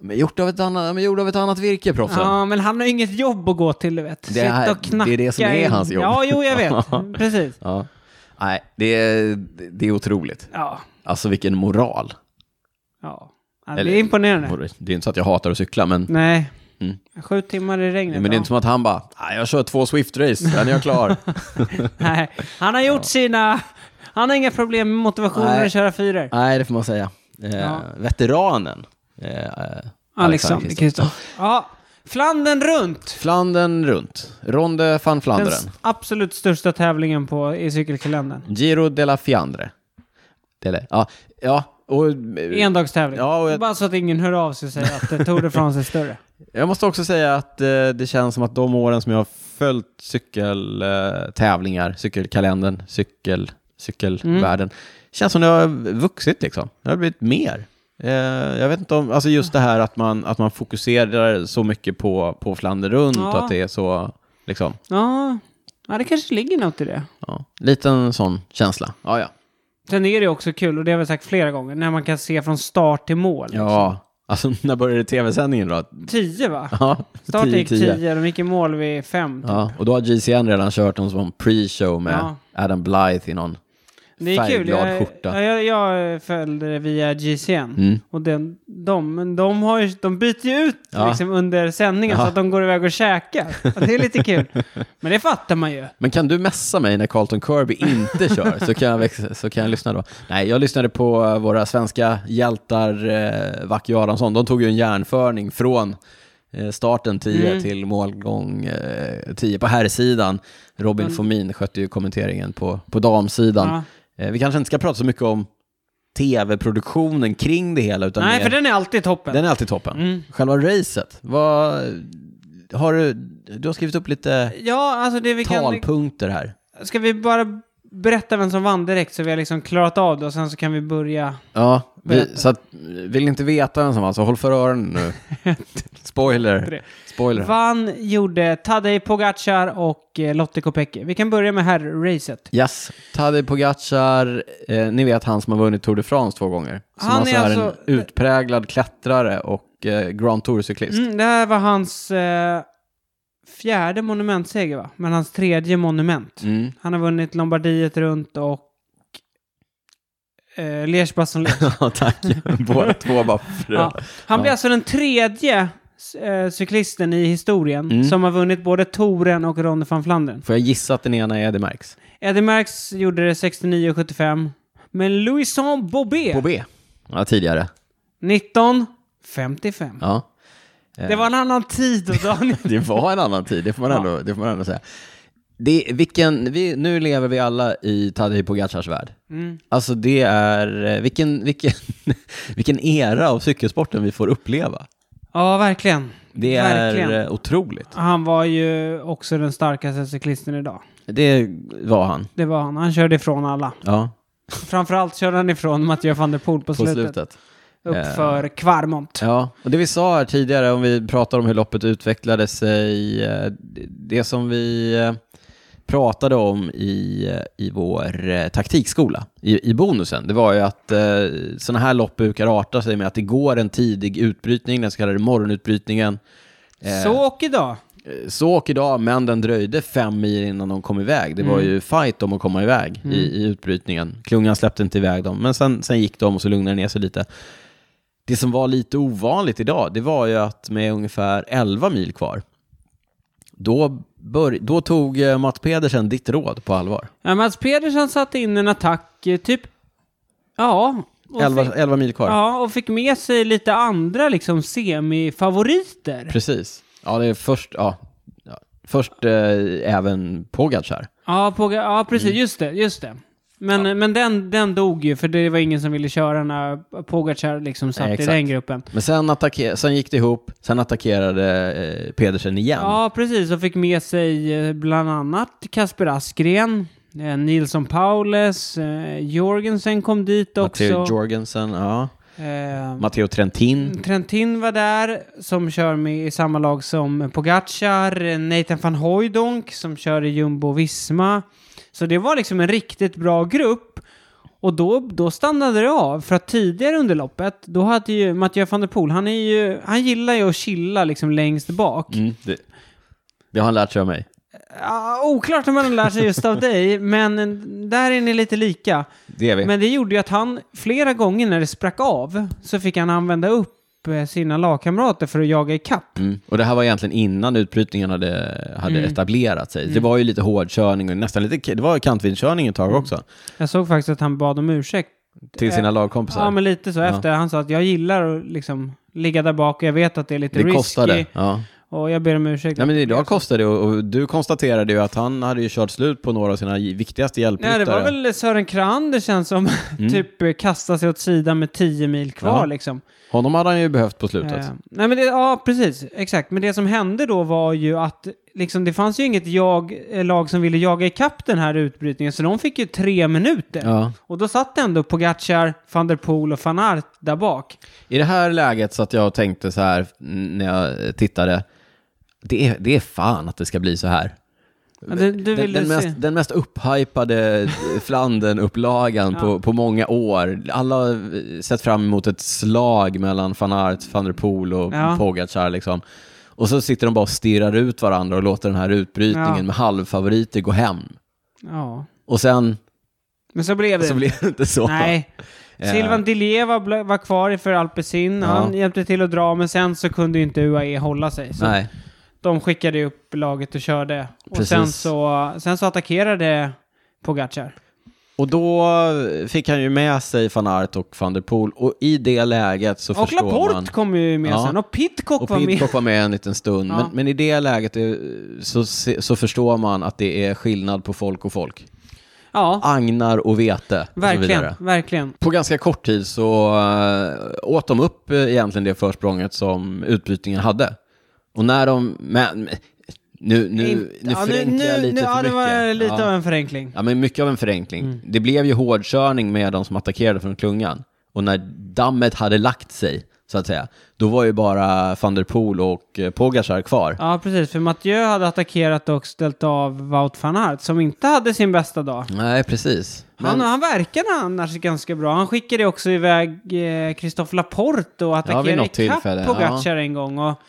Speaker 1: Men gjort av ett annat, men gjord av ett annat virke, proffsen.
Speaker 2: ja, men han har ju inget jobb att gå till, du vet.
Speaker 1: Det här-
Speaker 2: Sitta och knacka.
Speaker 1: det är det som är
Speaker 2: in.
Speaker 1: hans jobb.
Speaker 2: Ja, jo, jag vet. Precis.
Speaker 1: Ja. Nej, det är, det är otroligt.
Speaker 2: Ja.
Speaker 1: Alltså vilken moral.
Speaker 2: ja. ja det
Speaker 1: Eller-
Speaker 2: är imponerande.
Speaker 1: Det är inte så att jag hatar att cykla, men
Speaker 2: Nej.
Speaker 1: Mm.
Speaker 2: Sju timmar i regnet.
Speaker 1: Nej, men det är
Speaker 2: ja.
Speaker 1: inte som att han bara, "Nej, jag kör två Swift-race, sen är jag klar.
Speaker 2: Nej, han har gjort sina... Han har inga problem med motivationen
Speaker 1: Nej.
Speaker 2: att köra fyror.
Speaker 1: Nej, det får man säga. Eh,
Speaker 2: Ja.
Speaker 1: Veteranen. Eh,
Speaker 2: Alexander
Speaker 1: Kristoff.
Speaker 2: liksom, Kristoff. Ja, Flandern runt.
Speaker 1: Flandern runt. Ronde van
Speaker 2: Den
Speaker 1: Flandern.
Speaker 2: s- absolut största tävlingen på, i cykelkalendern.
Speaker 1: Giro della Fiandre. Dele. Ja, ja, och... eh,
Speaker 2: Endagstävling.
Speaker 1: Ja, och jag-
Speaker 2: Bara så att ingen hör av sig och säger att eh, Tour de France är större.
Speaker 1: Jag måste också säga att eh, det känns som att de åren som jag har följt cykeltävlingar, cykelkalendern, cykel, cykelvärlden, känns som det har vuxit liksom. Det har blivit mer. Eh, jag vet inte om, alltså just det här att man, att man fokuserar så mycket på, på Flandern runt
Speaker 2: Ja.
Speaker 1: och att det är så, liksom,
Speaker 2: Ja, ja, det kanske ligger något i det.
Speaker 1: ja, liten sån känsla. Ja, ja.
Speaker 2: Sen är det ju också kul, och det har vi sagt flera gånger, när man kan se från start till mål.
Speaker 1: Ja, alltså när började tv-sändningen då?
Speaker 2: Tio va?
Speaker 1: Ja,
Speaker 2: Start gick
Speaker 1: 10-10.
Speaker 2: tio, de gick i mål vid fem.
Speaker 1: Ja, och då har GCN redan kört någon sån pre-show med
Speaker 2: Ja.
Speaker 1: Adam Blythe i någon
Speaker 2: Det är kul.
Speaker 1: färgglad
Speaker 2: Jag,
Speaker 1: skjorta. Mm.
Speaker 2: ja, jag, jag följde det via GCN. Och den, de, men de, har ju, de byter ju ut
Speaker 1: Ja.
Speaker 2: liksom under sändningen
Speaker 1: Ja.
Speaker 2: så att de går iväg och käkar. Ja, Det är lite kul. Men det fattar man ju.
Speaker 1: Men kan du messa mig när Carlton Kirby inte kör så kan jag, växa, så kan jag lyssna då? Nej, jag lyssnade på eh, våra svenska hjältar eh, Vacke och Adamsson. De tog ju en järnförning från eh, starten 10
Speaker 2: Mm.
Speaker 1: till målgång eh, 10 på herrsidan. Robin
Speaker 2: Mm.
Speaker 1: Fomin skötte ju kommenteringen på, på damsidan. Eh, vi kanske inte ska prata så mycket om tv-produktionen kring det hela utan
Speaker 2: Nej,
Speaker 1: mer-
Speaker 2: för den är alltid toppen. Mm.
Speaker 1: den är alltid toppen. Själva racet, vad, har du, du har skrivit upp lite
Speaker 2: Ja, alltså det vi kan...
Speaker 1: talpunkter här.
Speaker 2: Ska vi bara berätta vem som vann direkt så vi har liksom klarat av det och sen så kan vi börja.
Speaker 1: Ja, vi,
Speaker 2: Berätta.
Speaker 1: så att, vill ni inte veta vem som vann så håll för öronen nu. Spoiler. Spoiler.
Speaker 2: Vann gjorde Tadej Pogacar och eh, Lotte Kopecky. Vi kan börja med herrracet.
Speaker 1: Yes. Tadej Pogacar, eh, ni vet han som har vunnit Tour de France två gånger. Som
Speaker 2: Han
Speaker 1: alltså är
Speaker 2: är
Speaker 1: alltså...
Speaker 2: alltså-
Speaker 1: en utpräglad klättrare och eh, Grand Tour-cyklist.
Speaker 2: Mm, det här var hans eh, fjärde monumentseger, va? Men hans tredje monument.
Speaker 1: Mm.
Speaker 2: Han har vunnit Lombardiet runt och eh, liège bastogne
Speaker 1: Ja, tack. Båda två bara frö.
Speaker 2: ja. Han blir alltså den tredje eh, cyklisten i historien
Speaker 1: Mm.
Speaker 2: som har vunnit både touren och Ronde van Flandern.
Speaker 1: Får jag gissa att den ena är Eddie Merckx?
Speaker 2: Eddie Merckx gjorde det 69 och 75. Men Louison Bobet
Speaker 1: På B? Ja, tidigare.
Speaker 2: 1955.
Speaker 1: Ja.
Speaker 2: Det var en annan tid då, Daniel.
Speaker 1: Det var en annan tid, det får man
Speaker 2: Ja.
Speaker 1: ändå, det får man ändå säga. Det, vilken, vi, nu lever vi alla i Tadej Pogacars värld.
Speaker 2: Mm.
Speaker 1: Alltså det är, eh, vilken, vilken, vilken era av cykelsporten vi får uppleva.
Speaker 2: Ja, verkligen.
Speaker 1: Det är
Speaker 2: Verkligen.
Speaker 1: eh, otroligt.
Speaker 2: Han var ju också den starkaste cyklisten idag.
Speaker 1: Det var han,
Speaker 2: Det var han. Han körde ifrån alla.
Speaker 1: ja,
Speaker 2: Framförallt körde han ifrån Mathieu van der Poel på
Speaker 1: på
Speaker 2: slutet.
Speaker 1: slutet.
Speaker 2: Uppför Kvarmont.
Speaker 1: Ja, och det vi sa här tidigare om vi pratar om hur loppet utvecklade sig, eh, det- det som vi eh, pratade om i, eh, i vår eh, taktikskola, i, i bonusen, det var ju att eh, sådana här lopp brukar arta sig med att det går en tidig utbrytning, den så kallade morgonutbrytningen. Eh,
Speaker 2: Så och idag.
Speaker 1: eh, Så åker idag, men den dröjde fem mil innan de kom iväg. Det var
Speaker 2: Mm.
Speaker 1: ju fight om att komma iväg i, i utbrytningen. Klungan släppte inte iväg dem, men sen, sen gick de och så lugnade det ner sig lite. Det som var lite ovanligt idag, det var ju att med ungefär 11 mil kvar, då, bör, då tog eh, Mats Pedersen ditt råd på allvar.
Speaker 2: Ja, Mats Pedersen satte in en attack, eh, typ... Ja. och
Speaker 1: 11,
Speaker 2: fick-
Speaker 1: 11 mil kvar.
Speaker 2: Ja, och fick med sig lite andra liksom semifavoriter.
Speaker 1: Precis. Ja, det är först, ja, ja, först eh, även Pogacar.
Speaker 2: Ja, på, ja precis. Just det. Just det. Men, men den, den dog ju, för det var ingen som ville köra när Pogacar liksom satt i
Speaker 1: exakt.
Speaker 2: den gruppen.
Speaker 1: Men sen, attacke- sen gick det ihop, sen attackerade eh, Pedersen igen.
Speaker 2: Ja, precis. Och fick med sig eh, bland annat Kasper Askren, eh, Nilsson Paules, eh, Jorgensen kom dit också.
Speaker 1: Matteo Jorgensen, ja.
Speaker 2: Eh,
Speaker 1: Matteo Trentin.
Speaker 2: Trentin var där, som kör med i samma lag som Pogacar, eh, Nathan van Hooijdonk som kör i Jumbo Visma. Så det var liksom en riktigt bra grupp. Och då, då stannade det av, för att tidigare under loppet, då hade ju Mathieu van der Poel, han, är ju, han gillar ju att chilla liksom längst bak.
Speaker 1: Mm, det, det har han lärt sig av mig.
Speaker 2: Ja, oklart om man lär sig just av dig, men där är ni lite lika.
Speaker 1: Det är vi.
Speaker 2: Men det gjorde ju att han flera gånger när det sprack av så fick han använda upp eh, sina lagkamrater för att jaga ikapp.
Speaker 1: Mm. Och det här var egentligen innan utbrytningen hade, hade
Speaker 2: Mm.
Speaker 1: etablerat sig. Det var ju lite hårdkörning och nästan lite, det var kantvindkörning ett tag
Speaker 2: Mm.
Speaker 1: också.
Speaker 2: Jag såg faktiskt att han bad om ursäkt.
Speaker 1: Till sina lagkompisar.
Speaker 2: Eh, Ja, men lite så efter. Han sa att jag gillar att liksom ligga där bak och jag vet att det är lite
Speaker 1: det
Speaker 2: risky.
Speaker 1: kostade. Ja.
Speaker 2: Och jag ber om ursäkt.
Speaker 1: Nej, men idag kostade det och, och du konstaterade ju att han hade ju kört slut på några av sina gi- viktigaste
Speaker 2: Nej,
Speaker 1: hjälpryttare.
Speaker 2: det var väl Sören Kran det känns som. typ eh, kasta sig åt sidan med 10 mil kvar
Speaker 1: Mm. Ja.
Speaker 2: liksom.
Speaker 1: Honom hade han ju behövt på slutet.
Speaker 2: Eh, nej men det, ja, precis. Exakt. Men det som hände då var ju att liksom, det fanns ju inget jag, eh, lag som ville jaga ikapp den här utbrytningen, så de fick ju tre minuter.
Speaker 1: Ja.
Speaker 2: Och då satt ändå Pogacar, van der Poel och van Aert där bak.
Speaker 1: I det här läget så att jag tänkte så här mm, när jag tittade, det är, det är fan att det ska bli så här.
Speaker 2: Ja, Du, du
Speaker 1: Den,
Speaker 2: ville
Speaker 1: den,
Speaker 2: se.
Speaker 1: mest, den mest upphypade Flandern-upplagan på, på många år. Alla har eh, sett fram emot ett slag mellan van Aert, van der Poel och
Speaker 2: Ja.
Speaker 1: Pogacar. Liksom. Och så sitter de bara och stirrar ut varandra och låter den här utbrytningen
Speaker 2: Ja.
Speaker 1: med halvfavoriter gå hem.
Speaker 2: Ja.
Speaker 1: Och sen
Speaker 2: Men så blev det.
Speaker 1: så blev det inte så.
Speaker 2: Nej.
Speaker 1: Eh.
Speaker 2: Silvan Dillier var, bl- var kvar i för Alpecin.
Speaker 1: Ja.
Speaker 2: Han hjälpte till att dra, men sen så kunde ju inte UAE hålla sig. Så
Speaker 1: Nej.
Speaker 2: De skickade ju upp laget och körde. Och
Speaker 1: Precis.
Speaker 2: sen så, sen så attackerade Pogacar.
Speaker 1: Och då fick han ju med sig van Aert och van der Poel och i det läget så
Speaker 2: Och
Speaker 1: förstår
Speaker 2: Laporte
Speaker 1: man...
Speaker 2: kom ju med
Speaker 1: Ja.
Speaker 2: sen. Och Pidcock
Speaker 1: Och
Speaker 2: var med.
Speaker 1: Pidcock var med en liten stund.
Speaker 2: Ja.
Speaker 1: Men, men i det läget eh, så, se- så förstår man att det är skillnad på folk och folk.
Speaker 2: Ja,
Speaker 1: Agnar och vete. Och så
Speaker 2: verkligen.
Speaker 1: vidare.
Speaker 2: Verkligen.
Speaker 1: På ganska kort tid så eh, åt de upp eh, egentligen det försprånget som utbrytningen hade. Och när de... Men, nu nu,
Speaker 2: In-
Speaker 1: nu förenklar jag lite
Speaker 2: nu,
Speaker 1: för
Speaker 2: ja, det
Speaker 1: mycket.
Speaker 2: var lite
Speaker 1: ja.
Speaker 2: av en förenkling.
Speaker 1: ja, men mycket av en förenkling.
Speaker 2: Mm.
Speaker 1: Det blev ju hårdkörning med de som attackerade från klungan. Och när dammet hade lagt sig, så att säga, då var ju bara van der Poel och eh, Pogacar kvar.
Speaker 2: Ja, precis. För Mathieu hade attackerat och ställt av Wout van Aert, som inte hade sin bästa dag.
Speaker 1: Nej, precis.
Speaker 2: Han, han verkade annars ganska bra. Han skickade också iväg eh, Christophe Laporte och attackerade
Speaker 1: vid något
Speaker 2: ikapp
Speaker 1: tillfälle,
Speaker 2: Pogacar en gång. Och,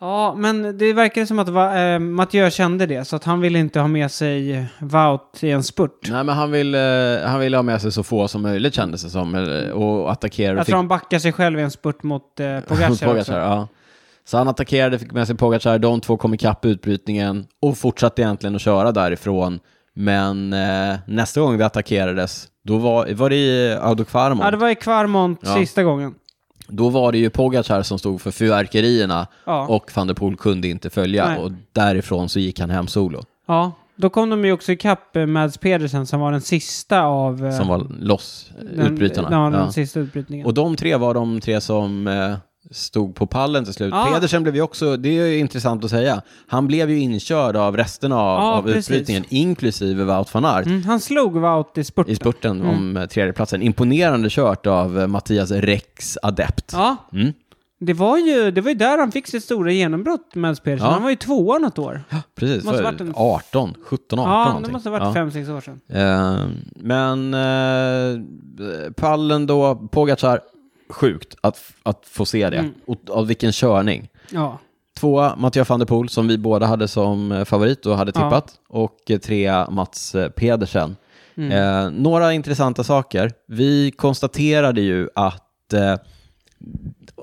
Speaker 2: ja, men det verkade som att va, eh, Mathieu kände det, så att han ville inte ha med sig Wout i en spurt.
Speaker 1: Nej, men han ville han vill ha med sig så få som möjligt kändes det som. eller- Och attackera och
Speaker 2: Jag tror han backar sig själv i en spurt mot eh, Pogacar,
Speaker 1: mot Pogacar,
Speaker 2: också.
Speaker 1: ja. Så han attackerade, fick med sig Pogacar, de två kom ikapp utbrytningen och fortsatte egentligen att köra därifrån. Men eh, nästa gång det attackerades, då var, var det i Audokvarmon.
Speaker 2: Ja, det var i Kvarmont
Speaker 1: Ja.
Speaker 2: sista gången.
Speaker 1: Då var det ju Pogacar som stod för fyrverkerierna
Speaker 2: Ja.
Speaker 1: och van der Poel kunde inte följa
Speaker 2: Nej.
Speaker 1: och därifrån så gick han hem solo
Speaker 2: Ja, då kom de ju också ikapp eh, Mads Pedersen som var den sista av eh,
Speaker 1: som var loss eh,
Speaker 2: den,
Speaker 1: utbrytarna.
Speaker 2: Ja, den
Speaker 1: Ja.
Speaker 2: sista utbrytningen.
Speaker 1: Och de tre var de tre som eh, stod på pallen till slut.
Speaker 2: Ja.
Speaker 1: Pedersen blev ju också, det är ju intressant att säga, han blev ju inkörd av resten av,
Speaker 2: Ja,
Speaker 1: av
Speaker 2: precis.
Speaker 1: utbrytningen, inklusive Wout van Aert.
Speaker 2: mm, han slog Wout i spurten.
Speaker 1: i spurten om eh, tredjeplatsen. Imponerande kört av eh, Mattias Rex Adept.
Speaker 2: Ja,
Speaker 1: Mm.
Speaker 2: det var, ju, det var ju där han fick sitt stora genombrott, Mads Pedersen.
Speaker 1: Ja.
Speaker 2: Han var ju tvåa något år.
Speaker 1: Precis,
Speaker 2: Måste
Speaker 1: för
Speaker 2: varit en-
Speaker 1: 18, 17, 18
Speaker 2: ja, det
Speaker 1: någonting.
Speaker 2: måste ha varit
Speaker 1: Ja.
Speaker 2: fem, sex år sedan.
Speaker 1: Eh, men eh, pallen då, Pogacar, sjukt att, att få se det. Och, och vilken körning.
Speaker 2: Ja.
Speaker 1: Tvåa, Mattias van der Poel, som vi båda hade som eh, favorit och hade
Speaker 2: Ja.
Speaker 1: tippat. Och eh, trea, Mats eh, Pedersen.
Speaker 2: Mm.
Speaker 1: Eh, några intressanta saker. Vi konstaterade ju att eh,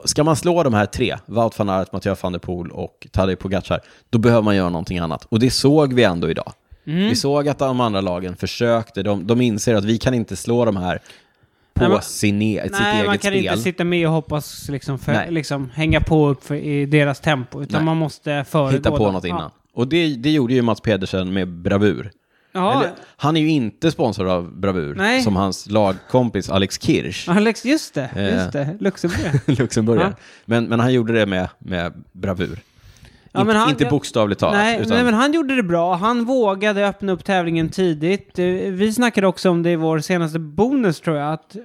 Speaker 1: ska man slå de här tre, Wout van Aert, Mattias van der Poel och Tadej Pogacar, då behöver man göra någonting annat. Och det såg vi ändå idag.
Speaker 2: Mm.
Speaker 1: Vi såg att de andra lagen försökte. De, de inser att vi kan inte slå de här på
Speaker 2: Nej, man-
Speaker 1: sin e- sitt
Speaker 2: Nej, man
Speaker 1: eget
Speaker 2: kan
Speaker 1: spel.
Speaker 2: inte sitta med och hoppas liksom, för,
Speaker 1: Nej.
Speaker 2: liksom hänga på upp för, i deras tempo, utan
Speaker 1: Nej.
Speaker 2: man måste föregå
Speaker 1: hitta på
Speaker 2: dem.
Speaker 1: något innan. Och det, det gjorde ju Mats Pedersen med bravur.
Speaker 2: Ja, ja
Speaker 1: Eller, han är ju inte sponsrad av bravur,
Speaker 2: Nej.
Speaker 1: som hans lagkompis Alex Kirsch.
Speaker 2: Alex, just det,
Speaker 1: Eh.
Speaker 2: just det, Luxemburg.
Speaker 1: Luxemburgaren.
Speaker 2: Ja.
Speaker 1: Men, men han gjorde det med, med bravur.
Speaker 2: Ja,
Speaker 1: inte,
Speaker 2: men han-
Speaker 1: inte bokstavligt talat.
Speaker 2: Nej,
Speaker 1: utan,
Speaker 2: nej, men han gjorde det bra. Han vågade öppna upp tävlingen tidigt. Eh, Vi snackade också om det i vår senaste bonus tror jag. Att,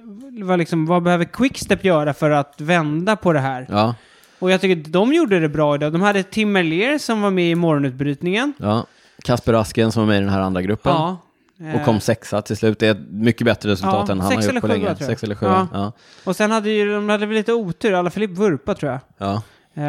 Speaker 2: vad, liksom, vad behöver Quickstep göra för att vända på det här?
Speaker 1: ja,
Speaker 2: Och jag tycker de gjorde det bra idag. De hade Timmerlier som var med i morgonutbrytningen.
Speaker 1: ja. Kasper Asken som var med i den här andra gruppen.
Speaker 2: Ja.
Speaker 1: Och
Speaker 2: Eh,
Speaker 1: kom sexa till slut. Det är ett mycket bättre resultat
Speaker 2: Ja,
Speaker 1: än han
Speaker 2: sex
Speaker 1: har
Speaker 2: eller
Speaker 1: gjort på
Speaker 2: sjua,
Speaker 1: länge.
Speaker 2: tror jag.
Speaker 1: Sex eller sju.
Speaker 2: Ja.
Speaker 1: Ja. Ja.
Speaker 2: Och sen hade ju, de hade väl lite otur. Alla Filip vurpa tror jag.
Speaker 1: Ja.
Speaker 2: Eh,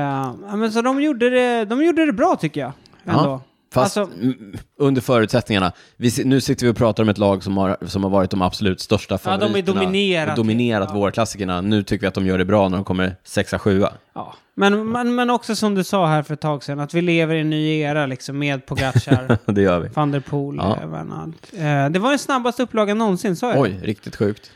Speaker 2: Ja, men så de gjorde, det, de gjorde det bra tycker jag. Ändå.
Speaker 1: Fast
Speaker 2: Alltså-
Speaker 1: mm, under förutsättningarna. Vi, si- nu sitter vi och pratar om ett lag som har, som har varit de absolut största
Speaker 2: de är
Speaker 1: favoriterna.
Speaker 2: dominerat. liksom.
Speaker 1: Och dominerat
Speaker 2: Ja.
Speaker 1: vårklassikerna. Nu tycker vi att de gör det bra när de kommer sexa, sjua.
Speaker 2: Ja. Men, men, men också som du sa här för ett tag sedan, att vi lever i en ny era liksom, med Pogacar,
Speaker 1: det gör vi.
Speaker 2: van der Poel,
Speaker 1: Ja.
Speaker 2: eh, Van Aert. eh, Det var den snabbaste upplagan någonsin, sa jag.
Speaker 1: Oj, riktigt sjukt.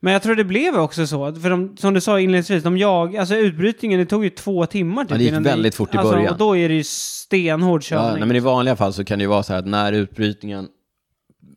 Speaker 2: Men jag tror det blev också så, för de, som du sa inledningsvis, de jag, alltså utbrytningen, det tog ju två timmar. Typ,
Speaker 1: Ja, det gick
Speaker 2: innan
Speaker 1: väldigt fort i
Speaker 2: alltså,
Speaker 1: början.
Speaker 2: Och då är det ju stenhård körning.
Speaker 1: Ja, nej, men I vanliga fall så kan det ju vara så här att när utbrytningen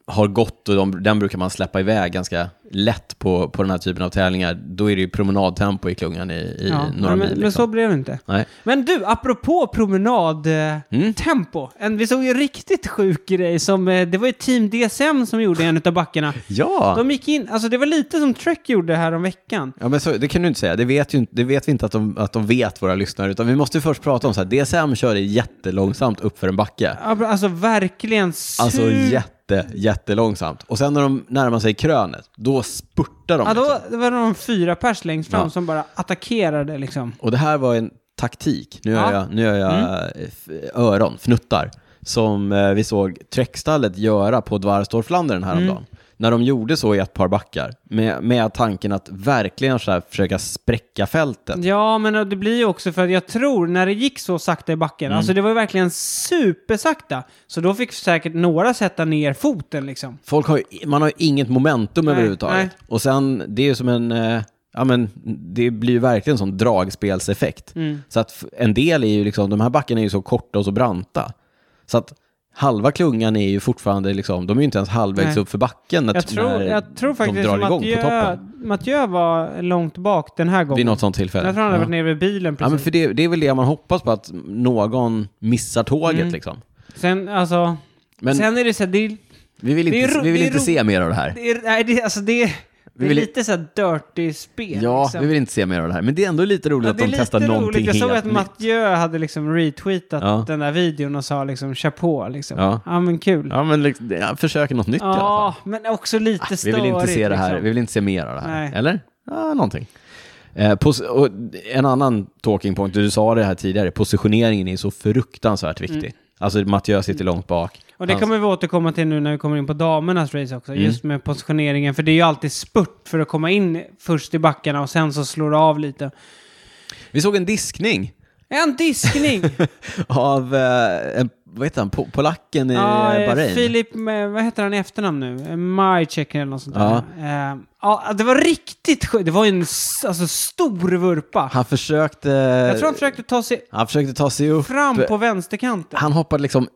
Speaker 1: har gått och de, den brukar man släppa iväg ganska lätt på, på den här typen av tävlingar, då är det ju promenadtempo i klungan i, i
Speaker 2: Ja,
Speaker 1: några
Speaker 2: men,
Speaker 1: mil.
Speaker 2: men
Speaker 1: Liksom.
Speaker 2: så blev det inte.
Speaker 1: Nej.
Speaker 2: Men du, apropå promenadtempo. Mm. Vi såg ju en riktigt sjuk grej som, eh, det var ju Team DSM som gjorde en utav backarna.
Speaker 1: Ja.
Speaker 2: De gick in, alltså det var lite som Trek gjorde här om veckan.
Speaker 1: Ja, men så, det kan du inte säga. Det vet, ju inte, det vet vi inte att de, att de vet, våra lyssnare. Utan vi måste ju först prata om så här, DSM körde jättelångsamt upp för en backe.
Speaker 2: Alltså verkligen super...
Speaker 1: Alltså jätte, jättelångsamt. Och sen när de närmar sig krönet, då spurtar de.
Speaker 2: ja,
Speaker 1: liksom.
Speaker 2: då det var de fyra pers längst fram
Speaker 1: Ja.
Speaker 2: som bara attackerade liksom.
Speaker 1: Och det här var en taktik, nu gör
Speaker 2: Ja.
Speaker 1: jag, nu gör jag eh, f- öron, fnuttar, som eh, vi såg Trek-stallet göra på Dvarstorflandern häromdagen. När de gjorde så i ett par backar, med, med tanken att verkligen så här försöka spräcka fältet.
Speaker 2: Ja, men det blir ju också för att jag tror när det gick så sakta i backen,
Speaker 1: Mm.
Speaker 2: alltså det var ju verkligen supersakta, så då fick säkert några sätta ner foten liksom.
Speaker 1: Folk har ju, man har ju inget momentum
Speaker 2: Nej,
Speaker 1: överhuvudtaget.
Speaker 2: nej.
Speaker 1: Och sen, det är ju som en... Eh, ja, men det blir ju verkligen en sån dragspelseffekt.
Speaker 2: Mm.
Speaker 1: Så att f- en del är ju liksom, de här backarna är ju så korta och så branta. Så att halva klungan är ju fortfarande liksom, de är ju inte ens halvvägs
Speaker 2: Nej.
Speaker 1: upp för backen när,
Speaker 2: Jag tror,
Speaker 1: när
Speaker 2: jag tror
Speaker 1: de
Speaker 2: faktiskt
Speaker 1: drar igång på
Speaker 2: Mathieu,
Speaker 1: toppen.
Speaker 2: Mathieu var långt bak den här gången.
Speaker 1: Vid något sånt
Speaker 2: jag
Speaker 1: tillfälle.
Speaker 2: tror han hade
Speaker 1: ja.
Speaker 2: varit nere vid bilen
Speaker 1: Ja,
Speaker 2: precis.
Speaker 1: men för det, det är väl det man hoppas på, att någon missar tåget
Speaker 2: Mm.
Speaker 1: liksom.
Speaker 2: Sen, alltså,
Speaker 1: Men
Speaker 2: sen är det så här, det är,
Speaker 1: vi vill
Speaker 2: det är
Speaker 1: inte,
Speaker 2: ro-
Speaker 1: vi vill
Speaker 2: det är
Speaker 1: inte
Speaker 2: ro-
Speaker 1: se mer av det här.
Speaker 2: det är, nej, det, är- alltså, det, är, det är
Speaker 1: vill-
Speaker 2: lite så här dirty spel.
Speaker 1: Ja,
Speaker 2: liksom.
Speaker 1: vi vill inte se mer av det här. Men det är ändå lite roligt
Speaker 2: Ja,
Speaker 1: att de testar någonting
Speaker 2: Jag såg
Speaker 1: helt
Speaker 2: att Mathieu hade liksom retweetat
Speaker 1: Ja.
Speaker 2: den där videon och sa liksom chapeau liksom. Ja,
Speaker 1: Ja.
Speaker 2: men kul. Ja,
Speaker 1: Ja, men liksom, ja, försök något nytt i alla fall. Ah,
Speaker 2: men också lite störigt.
Speaker 1: Vi vill inte se det här,
Speaker 2: Liksom.
Speaker 1: vi vill inte se mer av det här.
Speaker 2: Nej.
Speaker 1: Eller? Ja, någonting. Eh, pos- och en annan talking point, du sa det här tidigare, positioneringen är så fruktansvärt
Speaker 2: Mm.
Speaker 1: viktig. Alltså Mathieu sitter långt bak.
Speaker 2: Och det
Speaker 1: Han-
Speaker 2: kommer vi återkomma till nu när vi kommer in på damernas race också.
Speaker 1: Mm.
Speaker 2: Just med positioneringen, för det är ju alltid spurt för att komma in först i backarna och sen så slår det av lite.
Speaker 1: Vi såg en diskning
Speaker 2: En diskning!
Speaker 1: av, eh, en, vad heter han, Po- polacken i
Speaker 2: ja,
Speaker 1: eh,
Speaker 2: eh,
Speaker 1: Bahrain?
Speaker 2: Filip, eh, vad heter han i efternamn nu? Eh, Majcek eller något sånt
Speaker 1: Ja.
Speaker 2: där. Eh, ja, det var riktigt sjukt. Det var ju en s- alltså, stor vurpa.
Speaker 1: Han eh, försökte,
Speaker 2: Jag tror han försökte ta sig
Speaker 1: han försökte ta sig upp.
Speaker 2: fram på vänsterkanten.
Speaker 1: Han hoppade liksom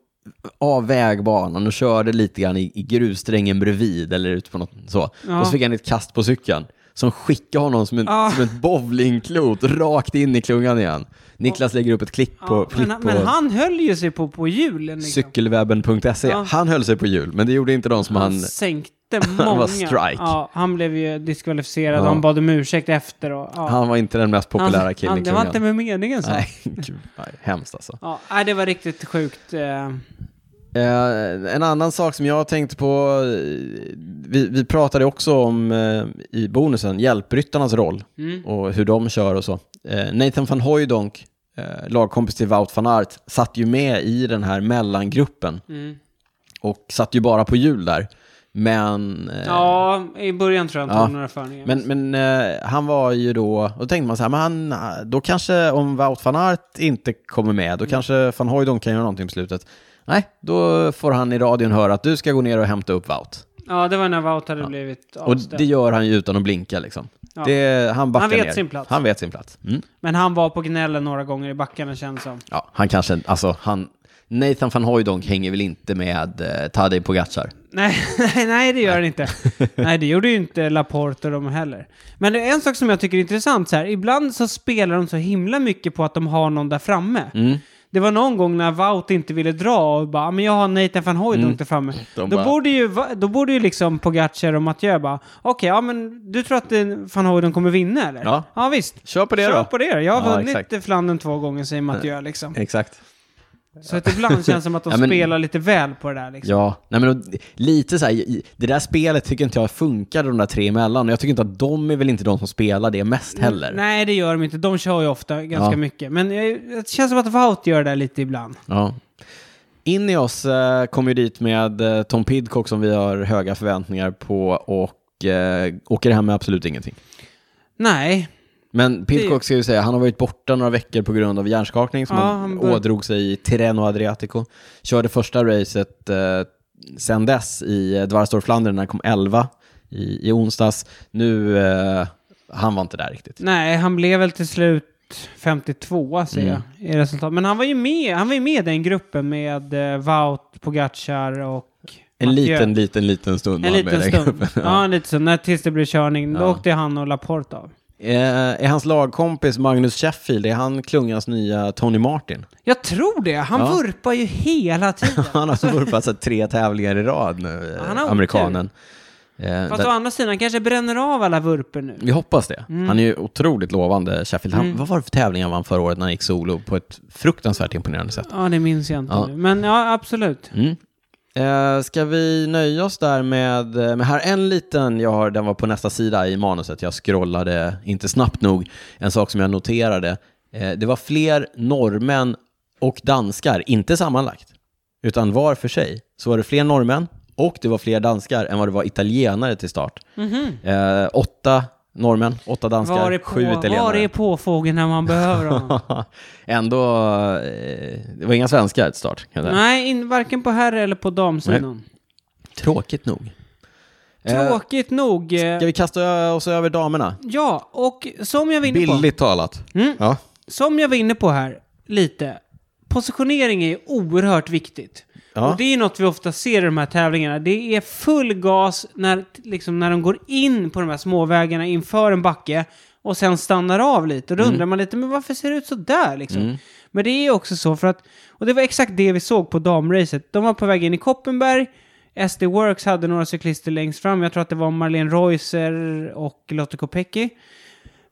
Speaker 1: av vägbanan och körde lite grann i, i grussträngen bredvid eller ut på något så.
Speaker 2: Ja.
Speaker 1: Och så fick han ett kast på cykeln som skickade honom som, en,
Speaker 2: Ja.
Speaker 1: som ett bowlingklot rakt in i klungan igen. Niklas lägger upp ett klipp på,
Speaker 2: Ja,
Speaker 1: klipp
Speaker 2: men,
Speaker 1: på
Speaker 2: men han höll ju sig på, på hjulen. Liksom.
Speaker 1: cykelwebben.se.
Speaker 2: Ja.
Speaker 1: Han höll sig på hjul, men det gjorde inte de som
Speaker 2: Han
Speaker 1: han...
Speaker 2: sänkte många.
Speaker 1: var strike.
Speaker 2: Ja, han blev ju diskvalificerad
Speaker 1: Ja.
Speaker 2: och han bad om ursäkt efter. Och, ja.
Speaker 1: Han var inte den mest populära
Speaker 2: Han-
Speaker 1: killen i
Speaker 2: han- Det var
Speaker 1: klungan.
Speaker 2: inte med meningen så.
Speaker 1: Nej, gud, nej, hemskt alltså.
Speaker 2: Ja, nej, det var riktigt sjukt. eh.
Speaker 1: Eh, en annan sak som jag tänkte på, eh, vi, vi pratade också om eh, i bonusen, hjälpryttarnas roll
Speaker 2: Mm.
Speaker 1: och hur de kör och så. Eh, Nathan van Hooijdonk, eh, lagkompis till Wout van Aert, satt ju med i den här mellangruppen
Speaker 2: Mm.
Speaker 1: och satt ju bara på hjul där. Men, eh,
Speaker 2: Ja, i början tror jag han
Speaker 1: ja.
Speaker 2: tog några förningar.
Speaker 1: men, men eh, han var ju då, och då tänkte man så här, men han, eh, då kanske om Wout van Aert inte kommer med,
Speaker 2: Mm.
Speaker 1: då kanske van Hooijdonk kan göra någonting på slutet. Nej, då får han i radion höra att du ska gå ner och hämta upp Wout.
Speaker 2: Ja, det var när Wout hade blivit
Speaker 1: Och
Speaker 2: avställd.
Speaker 1: det gör han ju utan att blinka liksom.
Speaker 2: Ja.
Speaker 1: Det, han backar
Speaker 2: Han vet
Speaker 1: ner.
Speaker 2: sin plats.
Speaker 1: Han vet sin plats. Mm.
Speaker 2: Men han var på gnällen några gånger i backarna känns som.
Speaker 1: Ja, han kanske, alltså han, Nathan van Hooijdonk hänger väl inte med eh, Tadej Pogacar?
Speaker 2: Nej, nej, nej, det gör det inte. Nej, det gjorde ju inte Laporte och de heller. Men det är en sak som jag tycker är intressant så här. Ibland så spelar de så himla mycket på att de har någon där framme.
Speaker 1: Mm.
Speaker 2: Det var någon gång när Wout inte ville dra och bara, "Ah, men jag har Nathan van Hooijdonk där framme.
Speaker 1: Mm. De
Speaker 2: då,
Speaker 1: bara-
Speaker 2: borde ju, va- då borde ju liksom Pogacar och Mathieu bara, okej, ja men du tror att eh, van Hooijdonk kommer vinna eller?
Speaker 1: Ja.
Speaker 2: ja visst.
Speaker 1: Kör på det
Speaker 2: Kör
Speaker 1: då.
Speaker 2: på det Jag har
Speaker 1: Ja,
Speaker 2: vunnit
Speaker 1: exakt.
Speaker 2: Flandern två gånger, säger Mathieu liksom.
Speaker 1: Exakt.
Speaker 2: Så att ibland känns det som att de
Speaker 1: Ja, men-
Speaker 2: spelar lite väl på det där liksom.
Speaker 1: Ja, nej men och, lite så här, i- det där spelet tycker inte jag funkar de där tre emellan. Och jag tycker inte att de är väl inte de som spelar det mest heller.
Speaker 2: Mm, Nej, det gör de inte. De kör ju ofta ganska
Speaker 1: Ja.
Speaker 2: mycket. Men eh, det känns som att Wout gör det där lite ibland.
Speaker 1: Ja. In i oss eh, kom ju dit med eh, Tom Pidcock som vi har höga förväntningar på och eh, åker hem med absolut ingenting.
Speaker 2: Nej,
Speaker 1: Men Pidcock ska ju säga, han har varit borta några veckor på grund av hjärnskakning som
Speaker 2: Ja,
Speaker 1: han,
Speaker 2: han bör-
Speaker 1: ådrog sig i Tirreno Adriatico. Körde första racet eh, sen dess i eh, Dvarstor Flandern när han kom 11 i, i onsdags. Nu, eh, han var inte där riktigt.
Speaker 2: nej, han blev väl till slut 52 säger
Speaker 1: Mm.
Speaker 2: jag i resultat. Men han var ju med, han var ju med i den gruppen med eh, Wout, Pogacar och
Speaker 1: En
Speaker 2: Mathieu.
Speaker 1: liten, liten, liten stund.
Speaker 2: En
Speaker 1: var han
Speaker 2: liten
Speaker 1: med i den
Speaker 2: stund.
Speaker 1: gruppen.
Speaker 2: ja, en liten stund. När, tills det blev körning. Då
Speaker 1: Ja.
Speaker 2: åkte han och Laporte av.
Speaker 1: Eh, är hans lagkompis Magnus Sheffield, är han klungans nya Tony Martin?
Speaker 2: Jag tror det. Han
Speaker 1: Ja.
Speaker 2: vurpar ju hela tiden.
Speaker 1: Han har alltså vurpat så här tre tävlingar i rad nu, eh,
Speaker 2: Han har otur.
Speaker 1: amerikanen. Eh,
Speaker 2: Fast
Speaker 1: där-
Speaker 2: å andra sidan, han kanske bränner av alla vurper nu.
Speaker 1: Vi hoppas det. Han är ju otroligt lovande, Sheffield. Han, Vad var det för tävling han vann förra året när han gick solo på ett fruktansvärt imponerande sätt?
Speaker 2: Ja, det minns jag inte
Speaker 1: Ja.
Speaker 2: nu. Men ja, absolut.
Speaker 1: Mm. Eh, ska vi nöja oss där med, eh, med här en liten, jag har, den var på nästa sida i manuset, jag scrollade inte snabbt nog, en sak som jag noterade. Eh, det var fler norrmän och danskar, inte sammanlagt, utan var för sig, så var det fler norrmän och det var fler danskar än vad det var italienare till start. Eh, åtta norrmän, åtta danskar,
Speaker 2: Mhm. Var är,
Speaker 1: sju
Speaker 2: på,
Speaker 1: italienare.
Speaker 2: var är påfågeln när man behöver honom?
Speaker 1: Ändå, eh, det var inga svenskar till start. Kan jag säga.
Speaker 2: Nej, in, varken på herr eller på damsidan.
Speaker 1: Tråkigt nog. Eh,
Speaker 2: Tråkigt nog. eh,
Speaker 1: Ska vi kasta ö- oss över damerna?
Speaker 2: Ja, och som jag var inne på,
Speaker 1: Billigt talat.
Speaker 2: Mm.
Speaker 1: Ja.
Speaker 2: som jag var inne på här lite. Positionering är ju oerhört viktigt.
Speaker 1: Ja.
Speaker 2: Och det är ju något vi ofta ser i de här tävlingarna. Det är full gas när, liksom, när de går in på de här småvägarna inför en backe och sen stannar av lite. Och då undrar man lite, men varför ser det ut så där liksom? Men det är också så för att, och det var exakt det vi såg på damracet. De var på väg in i Koppenberg. SD Works hade några cyklister längst fram. Jag tror att det var Marlene Reuser och Lotte Kopecky.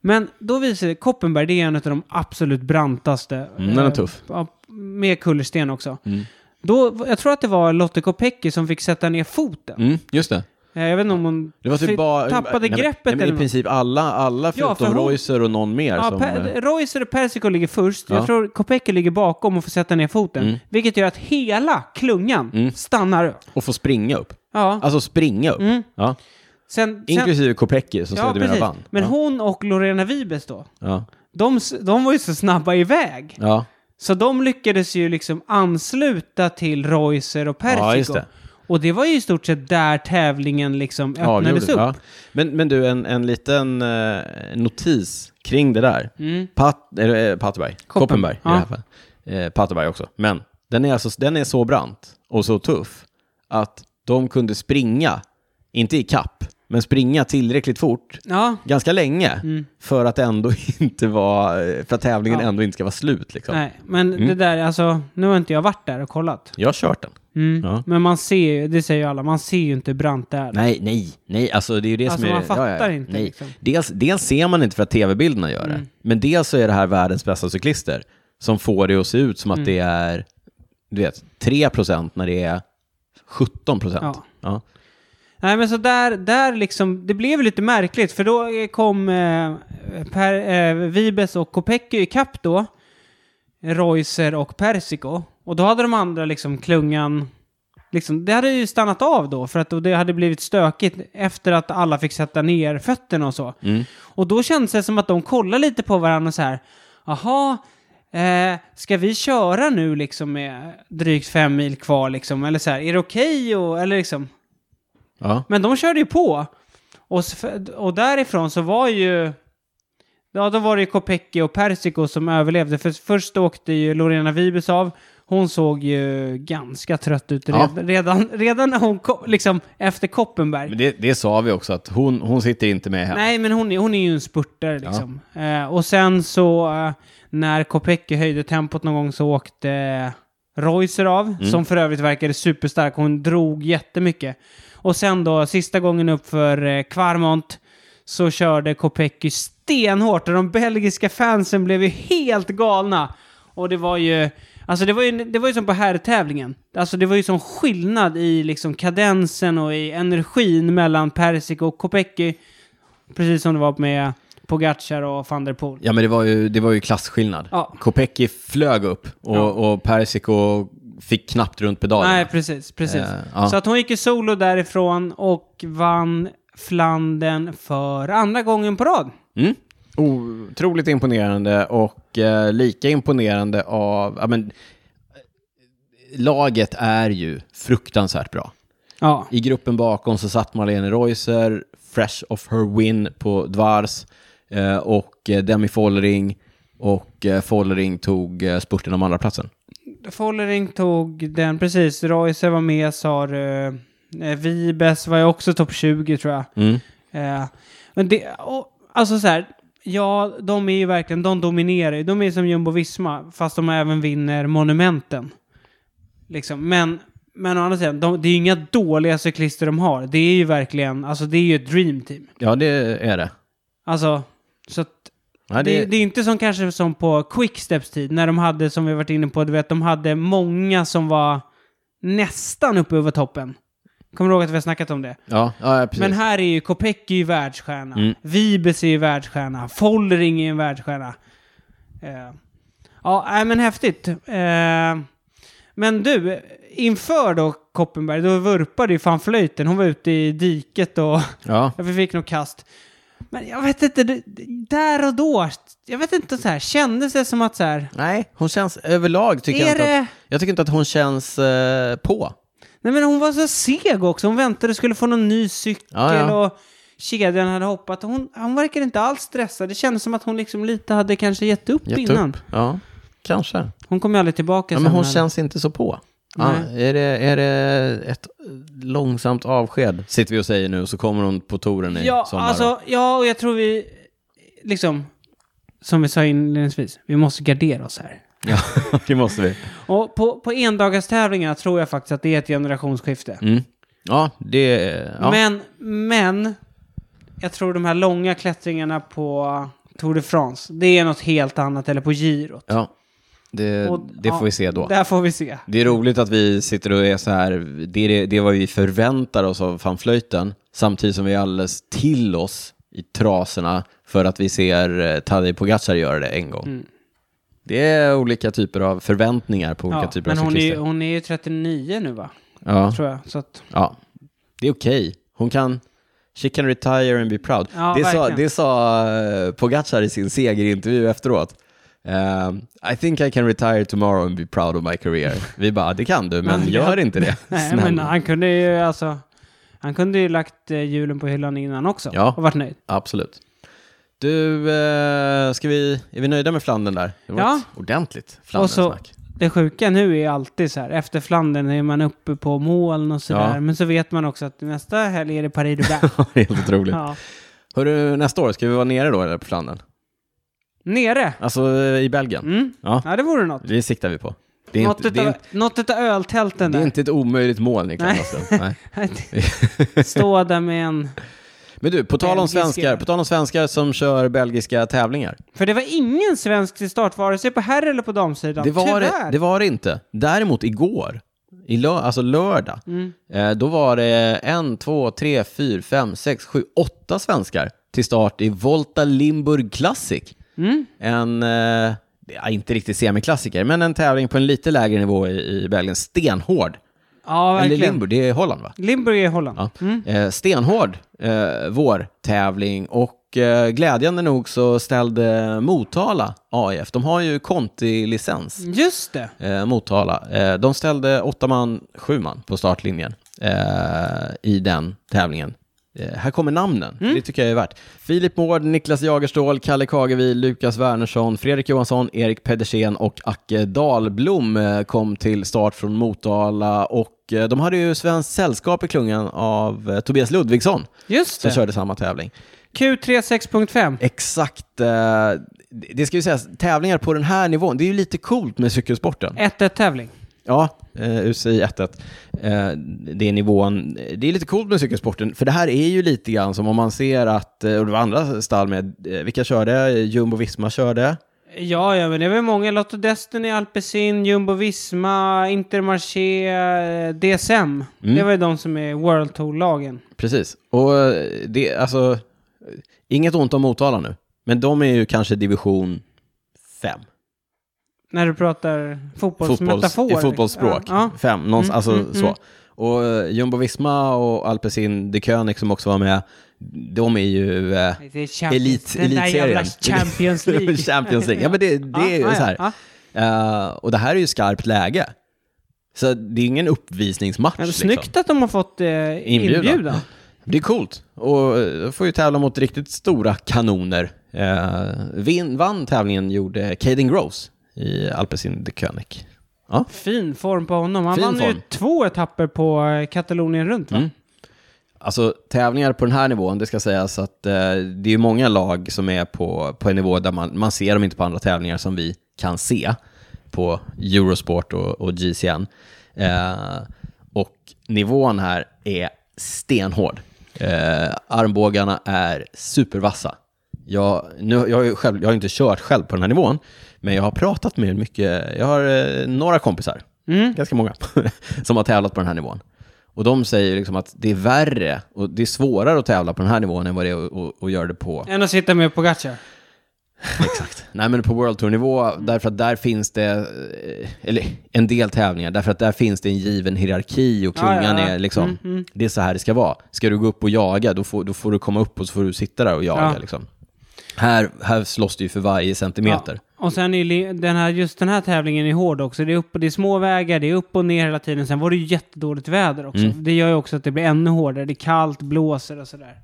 Speaker 2: Men då visar det, Koppenberg det är en av de absolut brantaste.
Speaker 1: Mm, den är
Speaker 2: eh,
Speaker 1: tuff. Mm.
Speaker 2: ja, Med kullersten också. Då, jag tror att det var Lotte Kopecky som fick sätta ner foten.
Speaker 1: Mm, just det.
Speaker 2: Eh, Jag vet inte om hon
Speaker 1: Det var typ
Speaker 2: fi-
Speaker 1: bara...
Speaker 2: tappade
Speaker 1: nej, men-
Speaker 2: greppet
Speaker 1: nej, men
Speaker 2: eller
Speaker 1: I
Speaker 2: något.
Speaker 1: princip alla, alla
Speaker 2: Ja,
Speaker 1: förutom
Speaker 2: för hon-
Speaker 1: Reuser och någon mer
Speaker 2: Ja,
Speaker 1: som... eh,
Speaker 2: per, Reuser och Persico ligger först. Jag
Speaker 1: Ja. Mm.
Speaker 2: tror Kopecky ligger bakom och får sätta ner foten. Vilket gör att hela klungan stannar upp.
Speaker 1: Och får springa upp.
Speaker 2: Ja. Mm.
Speaker 1: Alltså springa upp. Ja.
Speaker 2: Sen, sen,
Speaker 1: Inklusive Kopecky som
Speaker 2: ja,
Speaker 1: sedermera
Speaker 2: precis.
Speaker 1: vann.
Speaker 2: Men
Speaker 1: ja.
Speaker 2: hon och Lorena Vibes då,
Speaker 1: Ja.
Speaker 2: de, s- de var ju så snabba iväg.
Speaker 1: Ja,
Speaker 2: Så de lyckades ju liksom ansluta till Reuser och Persico.
Speaker 1: ja just det.
Speaker 2: Och det var ju i stort sett där tävlingen liksom öppnades
Speaker 1: Avgjorde,
Speaker 2: upp.
Speaker 1: ja. Men, men du, en, en liten eh, notis kring det där.
Speaker 2: Mm.
Speaker 1: Pat, eller, eh, Patterberg,
Speaker 2: Koppen-
Speaker 1: Koppenberg i
Speaker 2: ja.
Speaker 1: det här fallet. Eh, Patterberg också. Men den är, alltså, den är så brant och så tuff att de kunde springa, inte i kapp, men springa tillräckligt fort
Speaker 2: Ja,
Speaker 1: ganska länge
Speaker 2: Mm.
Speaker 1: för att ändå inte vara, eh, för att tävlingen
Speaker 2: Ja.
Speaker 1: ändå inte ska vara slut liksom.
Speaker 2: nej, men det där, alltså, nu har inte jag varit där och kollat.
Speaker 1: Jag har kört den.
Speaker 2: Mm.
Speaker 1: Ja.
Speaker 2: Men man ser ju, det säger ju alla, man ser ju inte brant där.
Speaker 1: Nej, nej, nej, alltså det är ju det
Speaker 2: Alltså,
Speaker 1: som är...
Speaker 2: man fattar
Speaker 1: ja, ja,
Speaker 2: inte,
Speaker 1: Nej.
Speaker 2: liksom. Mm.
Speaker 1: Dels, dels ser man inte för att tv-bilderna gör det, men dels så är det här världens bästa cyklister som får det att se ut som att det
Speaker 2: Mm.
Speaker 1: är, du vet, 3% när det är 17%.
Speaker 2: Ja.
Speaker 1: Ja.
Speaker 2: Nej, men så där, där liksom, det blev lite märkligt för då eh, kom eh, per, eh, Vibes och Kopecky ikapp då, Reuser och Persico. Och då hade de andra liksom klungan, liksom, det hade ju stannat av då för att då det hade blivit stökigt efter att alla fick sätta ner fötterna och så. Och då kändes det som att de kollade lite på varandra och så här, aha, Eh, ska vi köra nu liksom med drygt fem mil kvar liksom? Eller så här, är det okej? och Eller liksom,
Speaker 1: Ja.
Speaker 2: men de körde ju på. Och, s- och därifrån så var ju... Ja, då var det ju Kopecky och Persico som överlevde. För först åkte ju Lorena Vibes av. Hon såg ju ganska trött ut
Speaker 1: Ja.
Speaker 2: redan, redan, redan när hon kom, liksom efter Koppenberg.
Speaker 1: Men det, det sa vi också, att hon, hon sitter inte med hem.
Speaker 2: Nej, men hon är, hon är ju en spurtare liksom. Eh, och sen så eh, när Kopecky höjde tempot någon gång så åkte eh, Reuser av, som för övrigt verkade superstark. Hon drog jättemycket. Och sen då, sista gången upp för eh, Kvarmont så körde Kopecky stenhårt och de belgiska fansen blev ju helt galna. Och det var ju, alltså det var ju, det var ju som på herrtävlingen. Alltså det var ju som skillnad i liksom kadensen och i energin mellan Persico och Kopecky. Precis som det var med Pogacar och van der Poel.
Speaker 1: Ja, men det var ju, det var ju klasskillnad.
Speaker 2: Ja.
Speaker 1: Kopecky flög upp och,
Speaker 2: Ja.
Speaker 1: och Persico fick knappt runt pedalerna.
Speaker 2: Nej, precis. precis.
Speaker 1: Eh, ja.
Speaker 2: Så att hon gick i solo därifrån och vann Flandern för andra gången på rad.
Speaker 1: Mm. Otroligt imponerande och eh, lika imponerande av... Ja, men, eh, laget är ju fruktansvärt bra.
Speaker 2: Ja,
Speaker 1: I gruppen bakom så satt Marlene Reuser, fresh off her win på Dvars, eh, och eh, Demi Follering, och eh, Follering tog eh, spurten om andra platsen.
Speaker 2: Follering tog den precis. Royce var med, sa du. Eh, Vibes var ju också topp 20 tror jag.
Speaker 1: Mm.
Speaker 2: Eh, men det, och, alltså så här, ja, de är ju verkligen, de dominerar ju. De är som Jumbo-Visma, fast de även vinner monumenten. Liksom, men, men å andra sidan, de, det är ju inga dåliga cyklister de har. Det är ju verkligen, alltså det är ju ett dream team.
Speaker 1: Ja, det är det.
Speaker 2: Alltså, så att
Speaker 1: Nej,
Speaker 2: det,
Speaker 1: det,
Speaker 2: är- det är inte som kanske som på Quicksteps tid, när de hade, som vi varit inne på, du vet, de hade många som var nästan uppe över toppen. Kommer du ihåg att vi har snackat om det?
Speaker 1: Ja, ja, precis.
Speaker 2: Men här är ju Kopecky ju världsstjärna.
Speaker 1: Mm.
Speaker 2: Vibes är ju världsstjärna. Follering är ju en världsstjärna. Eh, ja, nej, men häftigt. Eh, men du, inför då Koppenberg, då vurpade ju fan flöjten. Hon var ute i diket och
Speaker 1: ja.
Speaker 2: jag fick nog kast. Men jag vet inte, det- där och då, jag vet inte så här, kändes det som att så här,
Speaker 1: Nej, hon känns överlag tycker jag
Speaker 2: Är
Speaker 1: inte
Speaker 2: det-
Speaker 1: att, Jag tycker inte att hon känns eh, på.
Speaker 2: nej men hon var så seg också, hon väntade skulle få någon ny cykel
Speaker 1: Ja, ja.
Speaker 2: och kedjan hade hoppat. Hon, hon verkade inte alls stressad, det kändes som att hon liksom lite hade kanske gett upp
Speaker 1: Gett
Speaker 2: innan.
Speaker 1: upp. Ja, kanske.
Speaker 2: Hon kom ju aldrig tillbaka
Speaker 1: Ja,
Speaker 2: sen
Speaker 1: men hon
Speaker 2: här.
Speaker 1: känns inte så på. Ja,
Speaker 2: Nej.
Speaker 1: är, det, är det ett långsamt avsked, sitter vi och säger nu, så kommer hon på touren i
Speaker 2: Ja,
Speaker 1: sommar. då.
Speaker 2: alltså, ja, och jag tror vi, liksom, som vi sa inledningsvis, vi måste gardera oss här.
Speaker 1: Ja, det måste vi.
Speaker 2: Och på, på endagarstävlingarna tror jag faktiskt att det är ett generationsskifte.
Speaker 1: Mm. Ja, det... Ja.
Speaker 2: Men, men, jag tror de här långa klättringarna på Tour de France, det är något helt annat, eller på girot.
Speaker 1: ja. Det,
Speaker 2: Och-
Speaker 1: det får
Speaker 2: ja,
Speaker 1: vi se då.
Speaker 2: Där får vi se.
Speaker 1: Det är roligt att vi sitter och är så här, det är det- det är vad vi förväntar oss av fanflöjten, samtidigt som vi är alldeles till oss i trasorna för att vi ser eh, Tadej Pogacar göra det en gång.
Speaker 2: Mm.
Speaker 1: Det är olika typer av förväntningar på olika
Speaker 2: Ja,
Speaker 1: typer
Speaker 2: men
Speaker 1: av
Speaker 2: hon är,
Speaker 1: cyklister.
Speaker 2: ju- hon är ju 39 nu va?
Speaker 1: Ja,
Speaker 2: Tror jag. Så att,
Speaker 1: ja. Det är okej. Hon kan She can retire and be proud.
Speaker 2: Ja,
Speaker 1: det, sa,
Speaker 2: verkligen.
Speaker 1: det sa eh, Pogacar i sin segerintervju efteråt. Ehm, I think I can retire tomorrow and be proud of my career. Vi bara, det kan du, men
Speaker 2: Ja.
Speaker 1: gör inte det.
Speaker 2: Nej,
Speaker 1: Snälla.
Speaker 2: men han kunde ju alltså... Han kunde ju lagt eh, hjulen på hyllan innan också
Speaker 1: Ja.
Speaker 2: och varit nöjd.
Speaker 1: Absolut. Du, eh, ska vi, är vi nöjda med Flandern där? Det var
Speaker 2: Ja.
Speaker 1: ett ordentligt
Speaker 2: Och så-
Speaker 1: Flandern-snack.
Speaker 2: Det sjuka nu är alltid så här, efter Flandern är man uppe på moln och sådär.
Speaker 1: Ja.
Speaker 2: Men så vet man också att nästa helg är det Paris roubaix
Speaker 1: Helt otroligt.
Speaker 2: ja.
Speaker 1: Hörru, nästa år, ska vi vara nere då eller på Flandern?
Speaker 2: Nere!
Speaker 1: Alltså eh, i Belgien?
Speaker 2: Mm.
Speaker 1: Ja.
Speaker 2: Ja, det vore något.
Speaker 1: Det siktar vi på. Det är,
Speaker 2: något,
Speaker 1: inte, det, är,
Speaker 2: utav,
Speaker 1: inte-
Speaker 2: något utav öltälten
Speaker 1: det är
Speaker 2: där.
Speaker 1: inte ett omöjligt mål, Niklas.
Speaker 2: Nej.
Speaker 1: Alltså. Nej.
Speaker 2: Stå där med en...
Speaker 1: Men du, på tal, om
Speaker 2: Belgiska.
Speaker 1: svenskar, på tal om svenskar som kör belgiska tävlingar.
Speaker 2: För det var ingen svensk till start, vare sig på herr eller på damsidan.
Speaker 1: Det var det,
Speaker 2: Tyvärr.
Speaker 1: det var det inte. Däremot igår, i lö, alltså lördag,
Speaker 2: Mm.
Speaker 1: eh, då var det en, två, tre, fyra, fem, sex, sju, åtta svenskar till start i Volta Limburg Classic.
Speaker 2: Mm.
Speaker 1: En, eh, ja, inte riktigt semiklassiker, men en tävling på en lite lägre nivå i, i Belgien. Stenhård.
Speaker 2: Ja,
Speaker 1: Eller
Speaker 2: verkligen.
Speaker 1: Limburg, det är Holland va?
Speaker 2: Limburg är i Holland.
Speaker 1: Ja. Eh, stenhård eh, vårtävling och eh, glädjande nog så ställde Motala AIF, de har ju Conti-licens,
Speaker 2: Just det.
Speaker 1: eh, Motala. Eh, de ställde åtta man, sju man på startlinjen eh, i den tävlingen. Eh, här kommer namnen, det tycker jag är värt. Filip Mård, Niklas Jagerståhl, Kalle Kagevik, Lukas Wernersson, Fredrik Johansson, Erik Pedersen och Acke Dahlblom eh, kom till start från Motala och eh, de hade ju svenskt sällskap i klungan av eh, Tobias Ludvigsson
Speaker 2: Just
Speaker 1: som
Speaker 2: det.
Speaker 1: körde samma tävling.
Speaker 2: Q3 6.5.
Speaker 1: Exakt, eh, det- det ska ju sägas, tävlingar på den här nivån, det är ju lite coolt med cykelsporten.
Speaker 2: 1-1-tävling.
Speaker 1: Ja, eh, UCI 1-1. Eh, det är nivån. Det är lite coolt med cykelsporten, för det här är ju lite grann som om man ser att, eh, och det var andra stall med, eh, vilka körde? Jumbo Visma körde.
Speaker 2: Ja, ja, men det är väl många. Lotto Destiny, Alpecin, Jumbo Visma, Intermarché, eh, DSM.
Speaker 1: Mm.
Speaker 2: Det var ju de som är World Tour-lagen.
Speaker 1: Precis. Och eh, det, alltså, eh, inget ont om Motala nu, men de är ju kanske division 5.
Speaker 2: När du pratar fotbollsmetafor.
Speaker 1: I fotbollsspråk.
Speaker 2: Ja, ja.
Speaker 1: Fem, någons,
Speaker 2: Mm,
Speaker 1: alltså
Speaker 2: mm,
Speaker 1: så. Och eh, Jumbo Visma och Alpecin de König som också var med, de är ju... Eh,
Speaker 2: Det är Champions-
Speaker 1: Elit,
Speaker 2: Den där jävla
Speaker 1: elitserien.
Speaker 2: Champions League.
Speaker 1: Champions League. Ja, men det, det är ju
Speaker 2: ja,
Speaker 1: så här.
Speaker 2: Ja, ja.
Speaker 1: Eh, och det här är ju skarpt läge. Så det är ingen uppvisningsmatch.
Speaker 2: Men
Speaker 1: liksom.
Speaker 2: Snyggt att de har fått eh,
Speaker 1: Inbjudan.
Speaker 2: inbjudan.
Speaker 1: Det är coolt. Och eh, de får ju tävla mot riktigt stora kanoner. Uh, vin, vann tävlingen gjorde Caden Gross i Alpecin de König. Ja.
Speaker 2: Fin form på honom. Han
Speaker 1: Fin
Speaker 2: vann
Speaker 1: form.
Speaker 2: ju två etapper på eh, Katalonien runt va?
Speaker 1: Mm. Alltså tävlingar på den här nivån, det ska sägas att eh, det är ju många lag som är på, på en nivå där man, man ser dem inte på andra tävlingar som vi kan se på Eurosport och, och GCN. Eh, och nivån här är stenhård. Eh, armbågarna är supervassa. Jag, nu, jag, har ju själv, jag har ju inte kört själv på den här nivån, men jag har pratat med mycket, jag har eh, några kompisar,
Speaker 2: Mm.
Speaker 1: ganska många, som har tävlat på den här nivån. Och de säger liksom att det är värre och det är svårare att tävla på den här nivån än vad det är att- att- att göra det på
Speaker 2: Än att sitta med Pogacar.
Speaker 1: Exakt. Nej, men på World Tour-nivå,
Speaker 2: Mm.
Speaker 1: därför att där finns det, eh, eller en del tävlingar, därför att där finns det en given hierarki och
Speaker 2: Ja, ja,
Speaker 1: klungan
Speaker 2: ja. Mm,
Speaker 1: är liksom, det är så här det ska vara. Ska du gå upp och jaga, då får, då får du komma upp och så får du sitta där och jaga.
Speaker 2: Ja.
Speaker 1: Liksom. Här, här slåss det ju för varje centimeter.
Speaker 2: Ja. Och sen är ju li- den här, just den här tävlingen är hård också. Det är, upp, det är små vägar, det är upp och ner hela tiden. Sen var det ju jättedåligt väder också.
Speaker 1: Mm.
Speaker 2: Det gör ju också att det blir ännu hårdare. Det är kallt, blåser och sådär.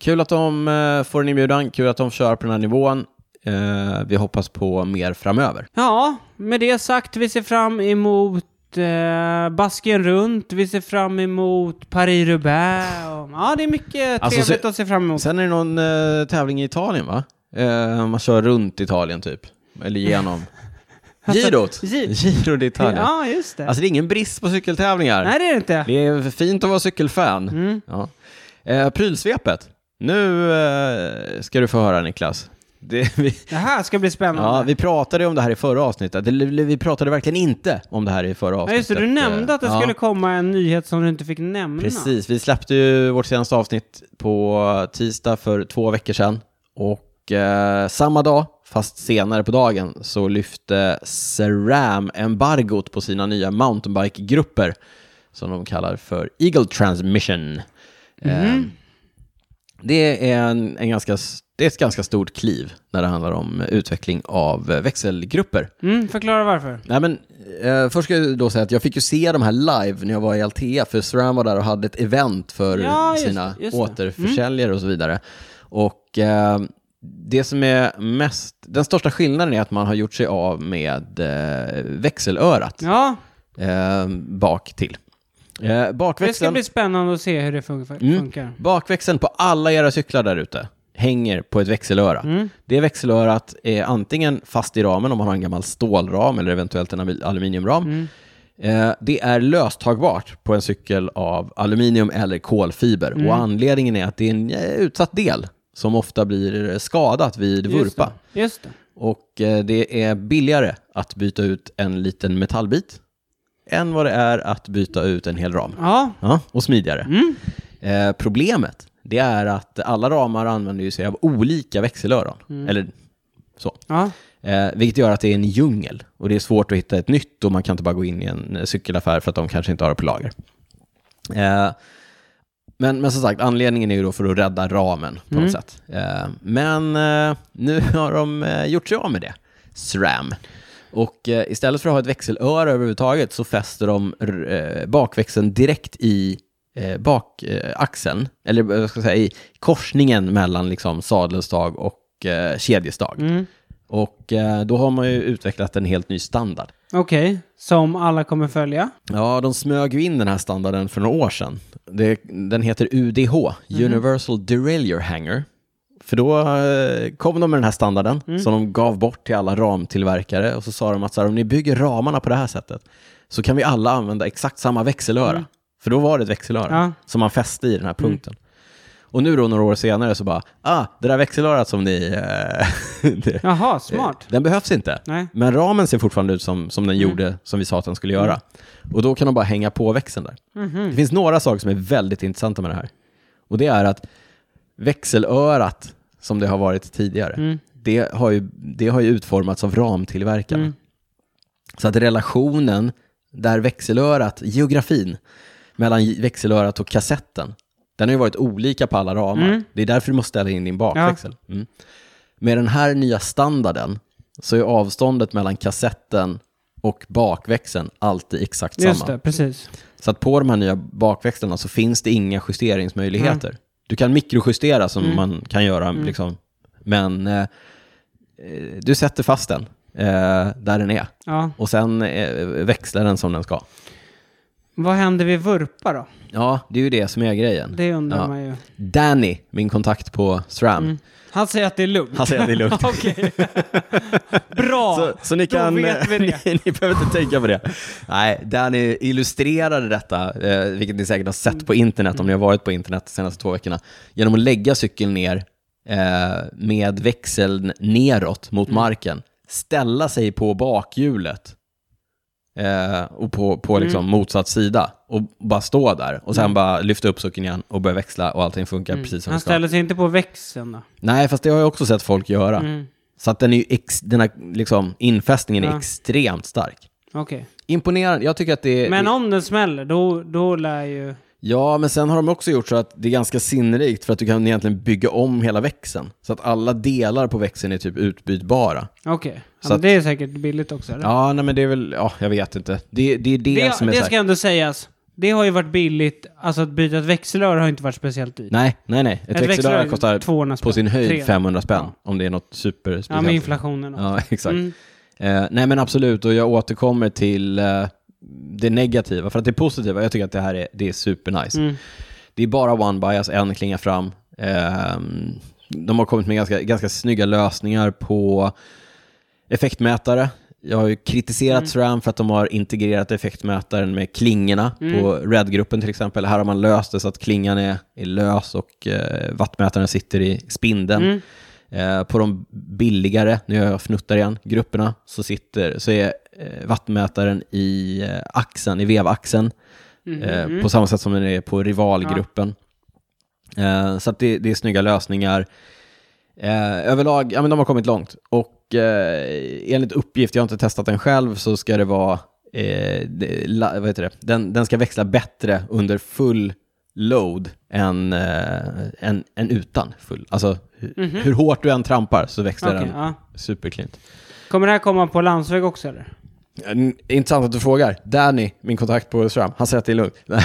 Speaker 1: Kul att de eh, får en inbjudan, kul att de kör på den här nivån. Eh, vi hoppas på mer framöver.
Speaker 2: Ja, med det sagt, vi ser fram emot eh, Basken runt, vi ser fram emot Paris-Roubaix. och- Ja, det är mycket
Speaker 1: Alltså,
Speaker 2: trevligt
Speaker 1: så-
Speaker 2: att se fram emot.
Speaker 1: Sen är det någon eh, tävling i Italien, va? Eh, man kör runt Italien typ, eller genom. Girot!
Speaker 2: Alltså, Gi-
Speaker 1: Giro d'Italia.
Speaker 2: Ja, just det.
Speaker 1: Alltså det är ingen brist på cykeltävlingar.
Speaker 2: Nej, Mm. det är det inte.
Speaker 1: Det är fint att vara cykelfan. Ja. Eh, prylsvepet. Nu eh, ska du få höra Niklas. Det, vi,
Speaker 2: Det här ska bli spännande.
Speaker 1: ja, vi pratade om det här i förra avsnittet. Det, vi pratade verkligen inte om det här i förra avsnittet. eh,
Speaker 2: Ja, just det. Du nämnde att det
Speaker 1: Ja,
Speaker 2: skulle komma en nyhet som du inte fick nämna.
Speaker 1: Precis. Vi släppte ju vårt senaste avsnitt på tisdag för två veckor sedan. Och eh, samma dag, fast senare på dagen, så lyfte Ceram embargot på sina nya mountainbike-grupper som de kallar för Eagle Transmission. Eh, Det är, en, en ganska, s- det är ett ganska stort kliv när det handlar om utveckling av eh, växelgrupper.
Speaker 2: Mm, förklara varför.
Speaker 1: Nej, men, eh, först ska jag då säga att jag fick ju se de här live när jag var i Altea, för Sram var där och hade ett event för
Speaker 2: Ja, just
Speaker 1: sina
Speaker 2: det, Mm. just det.
Speaker 1: återförsäljare och så vidare. Och eh, det som är mest, den största skillnaden är att man har gjort sig av med eh, växelörat
Speaker 2: Ja,
Speaker 1: eh, bak till. Eh,
Speaker 2: det ska
Speaker 1: bakväxeln,
Speaker 2: bli spännande att se hur det fun- funkar.
Speaker 1: mm, bakväxeln på alla era cyklar där ute hänger på ett växelöra.
Speaker 2: Mm.
Speaker 1: Det växelörat är antingen fast i ramen om man har en gammal stålram eller eventuellt en ami- aluminiumram.
Speaker 2: Mm.
Speaker 1: Eh, Det är löstagbart på en cykel av aluminium eller kolfiber.
Speaker 2: Mm.
Speaker 1: Och anledningen är att det är en eh, utsatt del som ofta blir eh, skadat vid
Speaker 2: Just
Speaker 1: vurpa.
Speaker 2: det. Just det.
Speaker 1: Och eh, det är billigare att byta ut en liten metallbit än vad det är att byta ut en hel ram.
Speaker 2: Ja,
Speaker 1: Ja, och smidigare.
Speaker 2: Mm.
Speaker 1: Eh, problemet, det är att alla ramar använder ju sig av olika växelöron. Eller så.
Speaker 2: ja.
Speaker 1: Eh, vilket gör att det är en djungel och det är svårt att hitta ett nytt och man kan inte bara gå in i en eh, cykelaffär för att de kanske inte har det på lager. Eh, men, men som sagt, anledningen är ju då för att rädda ramen på något sätt. Eh, men eh, nu har de eh, gjort sig av med det, SRAM. Och eh, istället för att ha ett växelöra överhuvudtaget så fäster de r- eh, bakväxeln direkt i eh, bakaxeln, eh, axeln. eller eh, vad ska jag säga, i korsningen mellan liksom, sadelstag och eh, kedjestag.
Speaker 2: Mm.
Speaker 1: Och eh, då har man ju utvecklat en helt ny standard.
Speaker 2: Okej, som alla kommer följa.
Speaker 1: Ja, de smög ju in den här standarden för några år sedan. Det, den heter UDH, Universal Derailleur Hanger. För då eh, kom de med den här standarden som de gav bort till alla ramtillverkare och så sa de att så här, om ni bygger ramarna på det här sättet så kan vi alla använda exakt samma växelöra. För då var det ett växelöra
Speaker 2: Ja.
Speaker 1: som man fäste i den här punkten. Och nu då några år senare så bara, ah, det där växelörat som ni... Eh, det,
Speaker 2: Jaha, smart.
Speaker 1: Den behövs inte.
Speaker 2: Nej.
Speaker 1: Men ramen ser fortfarande ut som, som den gjorde, som vi sa att den skulle göra. Och då kan de bara hänga på växeln där.
Speaker 2: Mhm.
Speaker 1: Det finns några saker som är väldigt intressanta med det här. Och det är att växelörat, som det har varit tidigare,
Speaker 2: Mm.
Speaker 1: det, har ju, det har ju utformats av ramtillverkaren.
Speaker 2: Mm.
Speaker 1: Så att relationen där växelörat, geografin, mellan j- växelörat och kassetten, den har ju varit olika på alla ramar.
Speaker 2: Mm.
Speaker 1: Det är därför du måste ställa in din bakväxel. Mm. Med den här nya standarden så är avståndet mellan kassetten och bakväxeln alltid exakt samma.
Speaker 2: Just det, precis.
Speaker 1: Så att på de här nya bakväxlarna så finns det inga justeringsmöjligheter. Du kan mikrojustera som man kan göra, liksom. men eh, eh, du sätter fast den eh, där den är
Speaker 2: Ja.
Speaker 1: och sen eh, växlar den som den ska.
Speaker 2: Vad händer vid vurpa då?
Speaker 1: Ja, det är ju det som är grejen.
Speaker 2: Det undrar
Speaker 1: Ja.
Speaker 2: man ju.
Speaker 1: Danny, min kontakt på SRAM,
Speaker 2: Han säger att det är lugnt.
Speaker 1: han säger att det är lugnt.
Speaker 2: Okej. Bra!
Speaker 1: Så, så ni
Speaker 2: Då
Speaker 1: kan, eh,
Speaker 2: vet vi det.
Speaker 1: ni, ni behöver inte tänka på det. Nej, Danny illustrerade detta, eh, vilket ni säkert har sett på internet om ni har varit på internet de senaste två veckorna, genom att lägga cykeln ner eh, med växeln neråt
Speaker 2: Mm.
Speaker 1: mot marken, ställa sig på bakhjulet eh, och på,
Speaker 2: Mm.
Speaker 1: på liksom motsatt sida och bara stå där och sen bara lyfta upp cykeln igen och börja växla och allting funkar precis som
Speaker 2: Mm. Han
Speaker 1: det ska.
Speaker 2: ställer sig inte på växeln då.
Speaker 1: Nej, fast det har jag också sett folk göra.
Speaker 2: Mm.
Speaker 1: Så att den, är ju ex, den här liksom, infästningen är
Speaker 2: Ja.
Speaker 1: extremt stark.
Speaker 2: Okej.
Speaker 1: Eh, Imponerande. Jag tycker att det är...
Speaker 2: Men om den smäller, då, då lär ju...
Speaker 1: Ja, men sen har de också gjort så att det är ganska sinnrikt för att du kan egentligen bygga om hela växeln. Så att alla delar på växeln är typ utbytbara.
Speaker 2: Okej. Ja,
Speaker 1: Så
Speaker 2: men
Speaker 1: att-
Speaker 2: det är säkert billigt också. Eller?
Speaker 1: Ja, nej men det är väl... Ja, jag vet inte. Det, det är det,
Speaker 2: det
Speaker 1: som är
Speaker 2: det
Speaker 1: säkert.
Speaker 2: ska ändå sägas. Det har ju varit billigt. Alltså att byta ett växelrör har inte varit speciellt dyrt.
Speaker 1: Nej, nej, nej. Ett, växelrör kostar på
Speaker 2: 200 spänn.
Speaker 1: sin höjd
Speaker 2: 300.
Speaker 1: 500 spänn.
Speaker 2: Ja.
Speaker 1: Om det är något superspeciellt.
Speaker 2: Ja, med inflationen. och-
Speaker 1: Ja, exakt.
Speaker 2: Mm.
Speaker 1: Eh, nej men absolut, och jag återkommer till eh, det negativa. För att det positiva, jag tycker att det här är, det är supernice.
Speaker 2: Mm.
Speaker 1: Det är bara one bias, en klinga fram. Ehm, de har kommit med ganska, ganska snygga lösningar på effektmätare. Jag har ju kritiserat SRAM för att de har integrerat effektmätaren med klingorna på RED-gruppen till exempel. Här har man löst det så att klingan är, är lös och eh, wattmätaren sitter i spindeln. Eh, på de billigare, nu gör jag fnuttar igen, grupperna, så, sitter, så är eh, wattmätaren i eh, axeln, i vevaxeln,
Speaker 2: Mhm.
Speaker 1: eh, på samma sätt som den är på rivalgruppen. Eh, så att det, det är snygga lösningar. Eh, överlag, ja men de har kommit långt. Och eh, enligt uppgift, jag har inte testat den själv, så ska det vara, eh, det, la, vad heter det? Den, den ska växla bättre under full load än, eh, än, än utan full. Alltså hur, hur hårt du än trampar så växlar
Speaker 2: Mhm. Okej,
Speaker 1: den
Speaker 2: ja.
Speaker 1: superklint.
Speaker 2: Kommer det här komma på landsväg också eller?
Speaker 1: Eh, Intressant att du frågar. Danny, min kontakt på Ström, han säger att det är lugnt. Nej,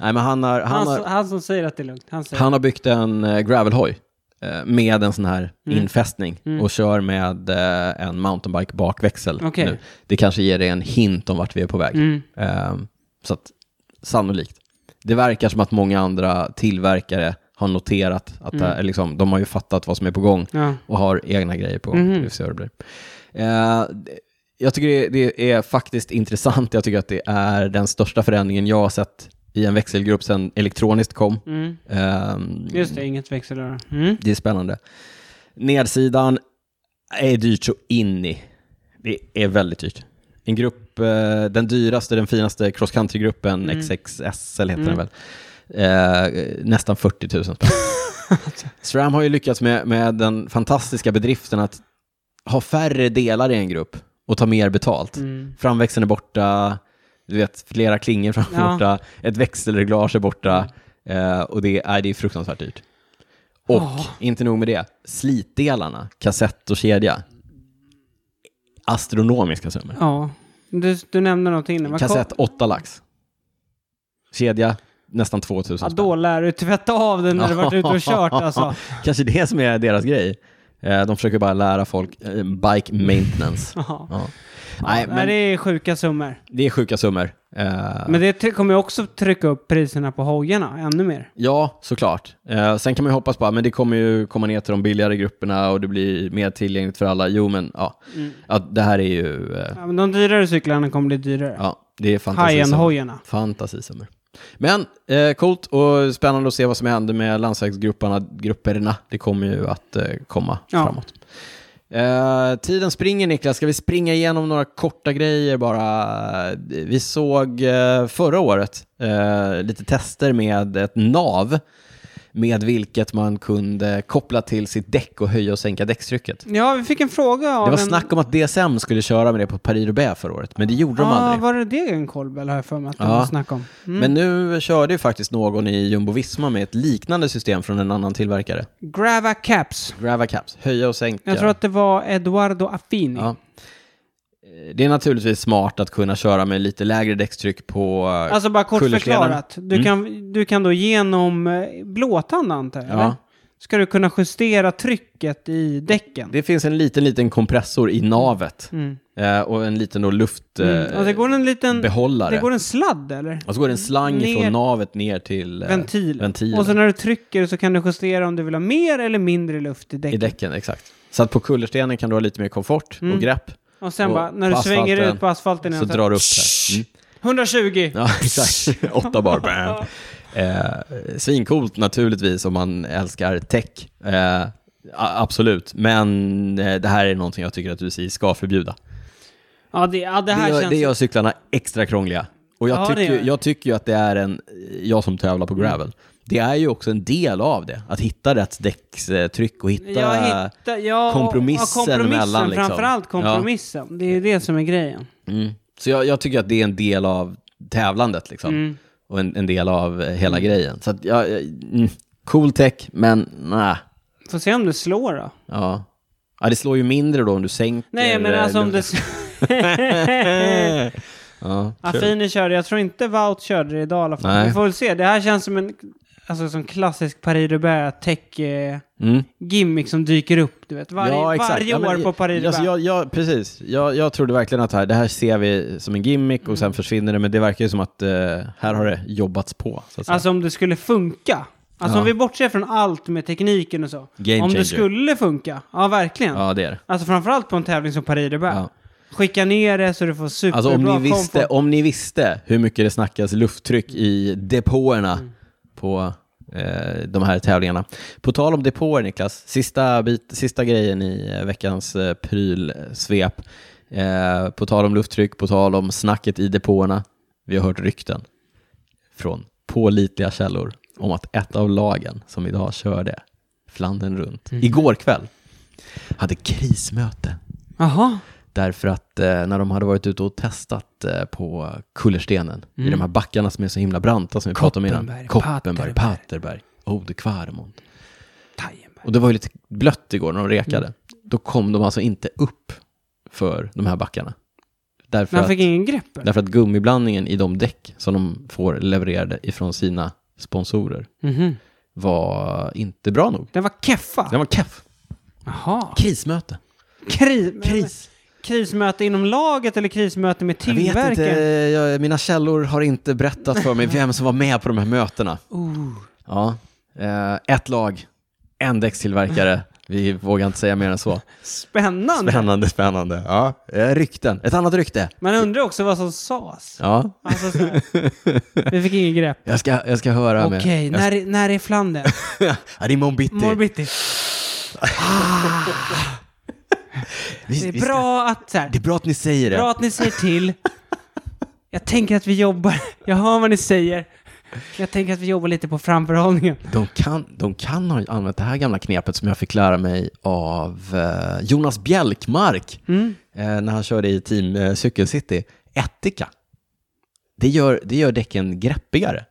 Speaker 1: men han har,
Speaker 2: Han,
Speaker 1: han har,
Speaker 2: s- han som säger att det är lugnt. Han säger.
Speaker 1: han har byggt en eh, gravelhoj eh, med en sån här
Speaker 2: Mm.
Speaker 1: infästning och kör med eh, en mountainbike bakväxel
Speaker 2: Okej.
Speaker 1: nu. Det kanske ger dig en hint om vart vi är på väg.
Speaker 2: Mm.
Speaker 1: Eh, Så att, sannolikt. Det verkar som att många andra tillverkare har noterat att det
Speaker 2: Mm.
Speaker 1: här är liksom, de har ju fattat vad som är på gång
Speaker 2: Ja.
Speaker 1: och har egna grejer på.
Speaker 2: Mhm.
Speaker 1: Vi får se hur det blir. Eh, jag tycker det, det är faktiskt intressant. Jag tycker att det är den största förändringen jag har sett i en växelgrupp sedan elektroniskt kom.
Speaker 2: Mm.
Speaker 1: Ehm,
Speaker 2: Just det, inget växelrör. Mm.
Speaker 1: det är spännande. Nedsidan är dyrt så in i. Det är väldigt dyrt. En grupp, eh, den dyraste, den finaste cross country-gruppen, XXSL heter den väl, eh, nästan 40 000 spänn. SRAM har ju lyckats med, med den fantastiska bedriften att ha färre delar i en grupp och ta mer betalt.
Speaker 2: Mm.
Speaker 1: Framväxeln är borta, du vet, flera klingor fram
Speaker 2: Ja.
Speaker 1: borta, ett växelreglage är borta eh, och det, nej, det är fruktansvärt dyrt. Och
Speaker 2: Ja.
Speaker 1: inte nog med det, slitdelarna, kassett och kedja, astronomiska summor.
Speaker 2: Ja. Du, du nämnde någonting innan. Vad kom-
Speaker 1: Kassett 8 lax. Kedja nästan 2000
Speaker 2: Ja,
Speaker 1: spänn.
Speaker 2: då lär du tvätta av den när du varit ute och kört alltså.
Speaker 1: Kanske det som är deras grej. Eh, de försöker bara lära folk eh, bike maintenance.
Speaker 2: Ja.
Speaker 1: ja. Nej,
Speaker 2: Nej,
Speaker 1: men
Speaker 2: det är sjuka summor.
Speaker 1: det är sjuka summor. Eh,
Speaker 2: Men det ty- kommer ju också trycka upp priserna på hojarna ännu mer.
Speaker 1: Ja, såklart. Eh, sen kan man ju hoppas på men det kommer ju komma ner till de billigare grupperna och det blir mer tillgängligt för alla. Jo, men ja, ja det här är ju... Eh,
Speaker 2: Ja, men de dyrare cyklarna kommer bli dyrare.
Speaker 1: ja, det är fantasisummor.
Speaker 2: High-end-hojarna.
Speaker 1: Fantasisummor. Men eh, coolt och spännande att se vad som händer med landsvägsgrupperna. Grupperna. Det kommer ju att eh, komma
Speaker 2: Ja.
Speaker 1: framåt. Eh, tiden springer Niklas, ska vi springa igenom några korta grejer bara? Vi såg eh, förra året eh, lite tester med ett nav med vilket man kunde koppla till sitt däck och höja och sänka däckstrycket.
Speaker 2: Ja, vi fick en fråga av
Speaker 1: Det var
Speaker 2: en...
Speaker 1: snack om att DSM skulle köra med det på Paris-Roubaix förra året, men det gjorde de
Speaker 2: Ja,
Speaker 1: aldrig.
Speaker 2: var det Degenkolb, har jag för mig att det
Speaker 1: Ja.
Speaker 2: var snack om. Mm.
Speaker 1: Men nu körde ju faktiskt någon i Jumbo-Visma med ett liknande system från en annan tillverkare.
Speaker 2: Grava Caps.
Speaker 1: Gravacaps, höja och sänka.
Speaker 2: Jag tror att det var Eduardo Affini.
Speaker 1: Ja. Eh, Det är naturligtvis smart att kunna köra med lite lägre däckstryck på... eh,
Speaker 2: Alltså bara kort
Speaker 1: Kullerstenen.
Speaker 2: förklarat. Du,
Speaker 1: Mm.
Speaker 2: kan, du kan då genom eh, blåtand antar jag,
Speaker 1: Ja.
Speaker 2: eller? Ska du kunna justera trycket i däcken?
Speaker 1: Det finns en liten, liten kompressor i navet
Speaker 2: Mm.
Speaker 1: eh, och en liten då luft... eh,
Speaker 2: Mm. Och det går en liten...
Speaker 1: behållare.
Speaker 2: Det går en sladd eller?
Speaker 1: Och så går det en slang
Speaker 2: Ner-
Speaker 1: från navet ner till eh,
Speaker 2: Ventil.
Speaker 1: ventilen
Speaker 2: Och så när du trycker så kan du justera om du vill ha mer eller mindre luft i
Speaker 1: i
Speaker 2: däcken.
Speaker 1: däcken. Exakt. Så att på kullerstenen kan du ha lite mer komfort
Speaker 2: Mm.
Speaker 1: och grepp.
Speaker 2: Och sen
Speaker 1: Och
Speaker 2: bara, när du
Speaker 1: på
Speaker 2: svänger
Speaker 1: asfalten
Speaker 2: ut på asfalten
Speaker 1: Så
Speaker 2: igen,
Speaker 1: drar du upp det. Mm.
Speaker 2: 120!
Speaker 1: Ja, exakt. Åtta bar. Bam. Eh, svincoolt naturligtvis om man älskar tech. Eh, a- absolut, men eh, det här är någonting jag tycker att UCI ska förbjuda.
Speaker 2: Ja, det, ja, det här
Speaker 1: det, gör,
Speaker 2: känns...
Speaker 1: det gör cyklarna extra krångliga. Och jag,
Speaker 2: Ja, det
Speaker 1: tycker,
Speaker 2: gör det. Mm.
Speaker 1: ju- jag tycker ju att det är en, jag som tävlar på gravel, det är ju också en del av det, att hitta rätt däckstryck och hitta...
Speaker 2: Jag hittar, ja,
Speaker 1: kompromissen
Speaker 2: ja, kompromissen
Speaker 1: emellan, liksom.
Speaker 2: Framförallt kompromissen. Det är ju det som är grejen.
Speaker 1: Mm. Så jag, jag tycker att det är en del av tävlandet liksom.
Speaker 2: Mm.
Speaker 1: Och en, en del av eh, hela grejen. Så att jag, jag- mm, cool tech, men nej.
Speaker 2: Får se om det slår då.
Speaker 1: Ja. ja, det slår ju mindre då om du sänker...
Speaker 2: Nej, men
Speaker 1: eh,
Speaker 2: alltså om det...
Speaker 1: Ja, kul.
Speaker 2: Affini körde, jag tror inte Wout körde det idag i alla fall.
Speaker 1: Nej.
Speaker 2: Vi får väl se. Det här känns som en alltså, som klassisk paris roubaix tech eh,
Speaker 1: Mm.
Speaker 2: gimmick som dyker upp. Du vet. Varje,
Speaker 1: ja, exakt.
Speaker 2: varje
Speaker 1: ja,
Speaker 2: år på paris
Speaker 1: alltså,
Speaker 2: roubaix
Speaker 1: jag, jag, Precis, jag, jag trodde verkligen att här, det här ser vi som en gimmick och
Speaker 2: Mm.
Speaker 1: sen försvinner det, men det verkar ju som att eh, här har det jobbats på. Så att säga.
Speaker 2: Alltså om det skulle funka. Alltså
Speaker 1: Ja.
Speaker 2: om vi bortser från allt med tekniken och så.
Speaker 1: Game
Speaker 2: om
Speaker 1: changer.
Speaker 2: det skulle funka. Ja, verkligen.
Speaker 1: ja, det är det.
Speaker 2: Alltså framförallt på en tävling som paris roubaix
Speaker 1: Ja.
Speaker 2: Skicka ner det så du får superbra
Speaker 1: Alltså om ni, visste,
Speaker 2: komfort.
Speaker 1: om ni visste hur mycket det snackas lufttryck i depåerna
Speaker 2: Mm.
Speaker 1: på eh, de här tävlingarna. På tal om depåer Niklas, sista, bit, sista grejen i eh, veckans eh, prylsvep. Eh, på tal om lufttryck, på tal om snacket i depåerna. Vi har hört rykten från pålitliga källor om att ett av lagen som idag körde
Speaker 2: Mm.
Speaker 1: Flandern runt igår kväll hade krismöte
Speaker 2: Jaha.
Speaker 1: Därför att eh, när de hade varit ute och testat eh, på kullerstenen, i
Speaker 2: Mm.
Speaker 1: de här backarna som är så himla branta som vi pratade om innan.
Speaker 2: Koppenberg,
Speaker 1: Koppenberg,
Speaker 2: Paterberg.
Speaker 1: Paterberg, Odekvarmont.
Speaker 2: Tajenberg.
Speaker 1: Och det var ju lite blött igår när de rekade.
Speaker 2: Mm.
Speaker 1: Då kom de alltså inte upp för de här backarna. Därför
Speaker 2: Men han
Speaker 1: att,
Speaker 2: fick ingen grepp? eller?
Speaker 1: därför att gummiblandningen i de däck som de får levererade ifrån sina sponsorer
Speaker 2: Mhm.
Speaker 1: var inte bra nog.
Speaker 2: Den var keffa?
Speaker 1: Den var keff.
Speaker 2: Jaha.
Speaker 1: Krismöte.
Speaker 2: Kri-
Speaker 1: Kris.
Speaker 2: Krismöte inom laget eller krismöte med
Speaker 1: Jag vet inte,
Speaker 2: tillverkaren?
Speaker 1: jag, mina källor har inte berättat för mig vem som var med på de här mötena.
Speaker 2: Oh.
Speaker 1: Ja, eh, ett lag, en däckstillverkare. Vi vågar inte säga mer än så.
Speaker 2: Spännande.
Speaker 1: Spännande, spännande. Ja, eh, rykten. Ett annat rykte.
Speaker 2: Man undrar också vad som sades.
Speaker 1: Ja,
Speaker 2: Alltså, så här. vi fick ingen grepp.
Speaker 1: jag ska, jag ska höra
Speaker 2: Okej,
Speaker 1: med...
Speaker 2: när, är- när är Flandern?
Speaker 1: Jag, ja, det är imorgon bitti.
Speaker 2: Imorgon bitti.
Speaker 1: Vi-
Speaker 2: Det
Speaker 1: vi
Speaker 2: är
Speaker 1: ska-
Speaker 2: bra att, så här,
Speaker 1: det är bra att ni säger det.
Speaker 2: bra att ni säger till. Jag tänker att vi jobbar. Jag hör vad ni säger. Jag tänker att vi jobbar lite på framförhållningen.
Speaker 1: De kan, de kan ha använt det här gamla knepet som jag fick lära mig av eh, Jonas Bjälkmark
Speaker 2: Mm,
Speaker 1: eh, när han körde i Team eh, Cykelcity. Ättika. Det gör, det gör däcken greppigare.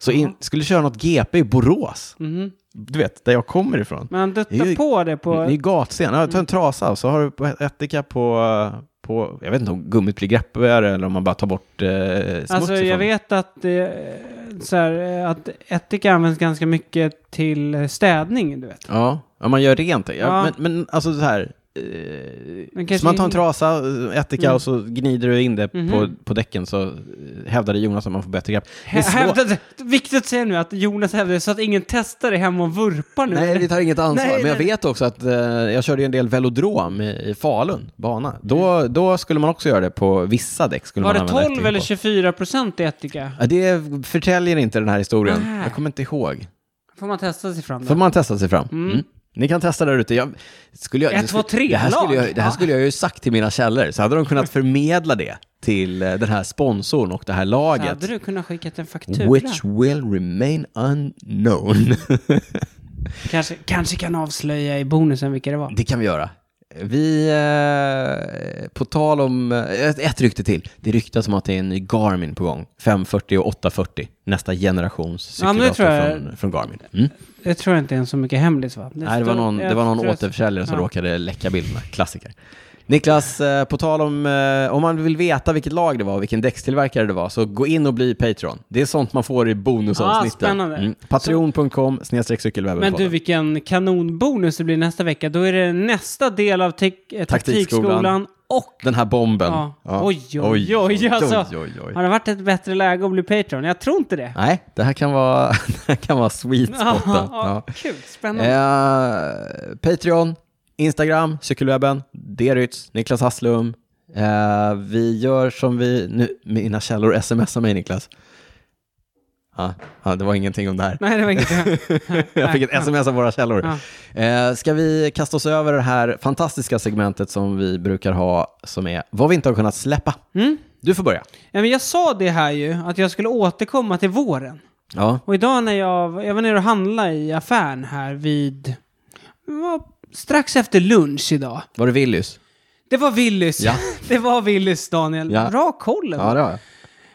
Speaker 1: Så in, skulle köra något GP i Borås,
Speaker 2: Mhm.
Speaker 1: du vet, där jag kommer ifrån.
Speaker 2: Men han
Speaker 1: Det är
Speaker 2: duttar
Speaker 1: ju-
Speaker 2: på det på...
Speaker 1: Det är gatsten. Ja, ta en trasa och så har du på ättika på, på... Jag vet inte om gummit blir greppigare eller om man bara tar bort eh, smuts
Speaker 2: Alltså jag
Speaker 1: ifrån.
Speaker 2: vet att, eh, så här, eh, att ättika används ganska mycket till eh, städning, du vet.
Speaker 1: Ja, ja man gör rent det. Ja,
Speaker 2: Ja.
Speaker 1: Men, men alltså så här. Eh,
Speaker 2: Men kanske-
Speaker 1: så man tar en trasa, eh, ättika
Speaker 2: Mm.
Speaker 1: och så gnider du in det
Speaker 2: Mhm.
Speaker 1: på, på däcken så eh, hävdade Jonas att man får bättre grepp. Det är
Speaker 2: Hä-
Speaker 1: svårt.
Speaker 2: Hävdade, viktigt att säga nu att Jonas hävdade så att ingen testar det hemma och vurpar nu.
Speaker 1: Nej, vi tar inget ansvar.
Speaker 2: Nej,
Speaker 1: men jag
Speaker 2: nej,
Speaker 1: vet också att eh, jag körde ju en del velodrom i, i Falun, bana. Då, då skulle man också göra det på vissa däck. Skulle
Speaker 2: Var
Speaker 1: man
Speaker 2: det
Speaker 1: använda
Speaker 2: 12
Speaker 1: ättika
Speaker 2: eller
Speaker 1: på.
Speaker 2: 24 procent i ättika?
Speaker 1: Ja, det förtäljer inte den här historien.
Speaker 2: Nej.
Speaker 1: Jag kommer inte ihåg.
Speaker 2: Får man testa sig fram
Speaker 1: Får
Speaker 2: då?
Speaker 1: man testa sig fram? Mm. Ni kan testa där ute. Jag, skulle jag,
Speaker 2: Ett, två, tre
Speaker 1: det här, skulle
Speaker 2: lag.
Speaker 1: jag, det här
Speaker 2: Ja.
Speaker 1: skulle jag ju sagt till mina källor, så hade de kunnat förmedla det till eh, den här sponsorn och det här laget.
Speaker 2: Hade du kunnat skicka en faktura?
Speaker 1: Which will remain unknown.
Speaker 2: Kanske, kanske kan avslöja i bonusen vilka det var.
Speaker 1: det kan vi göra. Vi, eh, på tal om, eh, ett, ett rykte till. Det ryktas om att det är en ny Garmin på gång. 540 och 840, nästa generations
Speaker 2: Ja, men det
Speaker 1: cykeldator
Speaker 2: tror jag.
Speaker 1: från, från Garmin. Mm.
Speaker 2: Jag tror inte ens så mycket hemlis va?
Speaker 1: Nej, det var någon, det var någon återförsäljare som
Speaker 2: ja.
Speaker 1: råkade läcka bilderna. Klassiker. Niklas, eh, på tal om, eh, om man vill veta vilket lag det var och vilken däckstillverkare det var, så gå in och bli Patreon. Det är sånt man får i bonusavsnitten. Mm.
Speaker 2: Ah, spännande.
Speaker 1: Patreon.com snedstreck
Speaker 2: Men du,
Speaker 1: cykelwebben.
Speaker 2: vilken kanonbonus det blir nästa vecka. Då är det nästa del av tek- eh,
Speaker 1: Taktikskolan.
Speaker 2: taktikskolan och...
Speaker 1: Den här bomben.
Speaker 2: Ja. Oj, oj, oj, alltså.
Speaker 1: oj, oj, oj.
Speaker 2: Har det varit ett bättre läge att bli Patreon? Jag tror inte det.
Speaker 1: Nej, det här kan vara, det här kan vara sweet spoten.
Speaker 2: Ja, Kul, spännande.
Speaker 1: Eh, Patreon, Instagram, cykelwebben, Derytz, Niklas Hasslum. Eh, vi gör som vi... Nu, mina källor smsar mig, Niklas. Ja, ja, det var ingenting om det här.
Speaker 2: Nej, det var inget.
Speaker 1: Jag fick ett sms av våra källor. Eh, ska vi kasta oss över det här fantastiska segmentet som vi brukar ha, som är vad vi inte har kunnat släppa?
Speaker 2: Mm.
Speaker 1: Du får börja.
Speaker 2: Ja, men jag sa det här ju, att jag skulle återkomma till våren.
Speaker 1: Ja,
Speaker 2: Och idag när jag, jag var nere och handlade i affären här vid... det var strax efter lunch idag.
Speaker 1: var det Willys?
Speaker 2: Det var Willys.
Speaker 1: Ja.
Speaker 2: Det var Willys, Daniel.
Speaker 1: Ja.
Speaker 2: Bra koll. ändå.
Speaker 1: Ja, det har jag.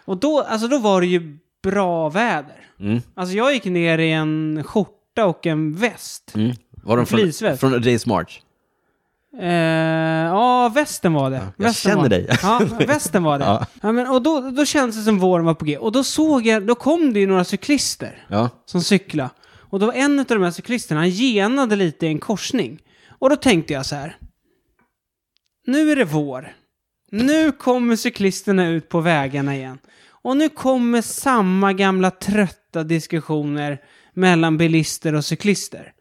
Speaker 2: Och då, alltså då var det ju bra väder.
Speaker 1: Mm.
Speaker 2: Alltså jag gick ner i en skjorta och en väst.
Speaker 1: Mm. Var de från,
Speaker 2: Fleeceväst.
Speaker 1: från A Day's March?
Speaker 2: Eh, ja, västen var det.
Speaker 1: jag
Speaker 2: västen
Speaker 1: känner
Speaker 2: var.
Speaker 1: dig.
Speaker 2: Ja, västen var det.
Speaker 1: Ja.
Speaker 2: ja. men, och då, då kändes det som våren var på G. Och då såg jag, då kom det ju några cyklister
Speaker 1: Ja.
Speaker 2: som cyklade. Och då var en av de här cyklisterna, han genade lite i en korsning. Och då tänkte jag så här. Nu är det vår. Nu kommer cyklisterna ut på vägarna igen. Och nu kommer samma gamla trötta diskussioner mellan bilister och cyklister.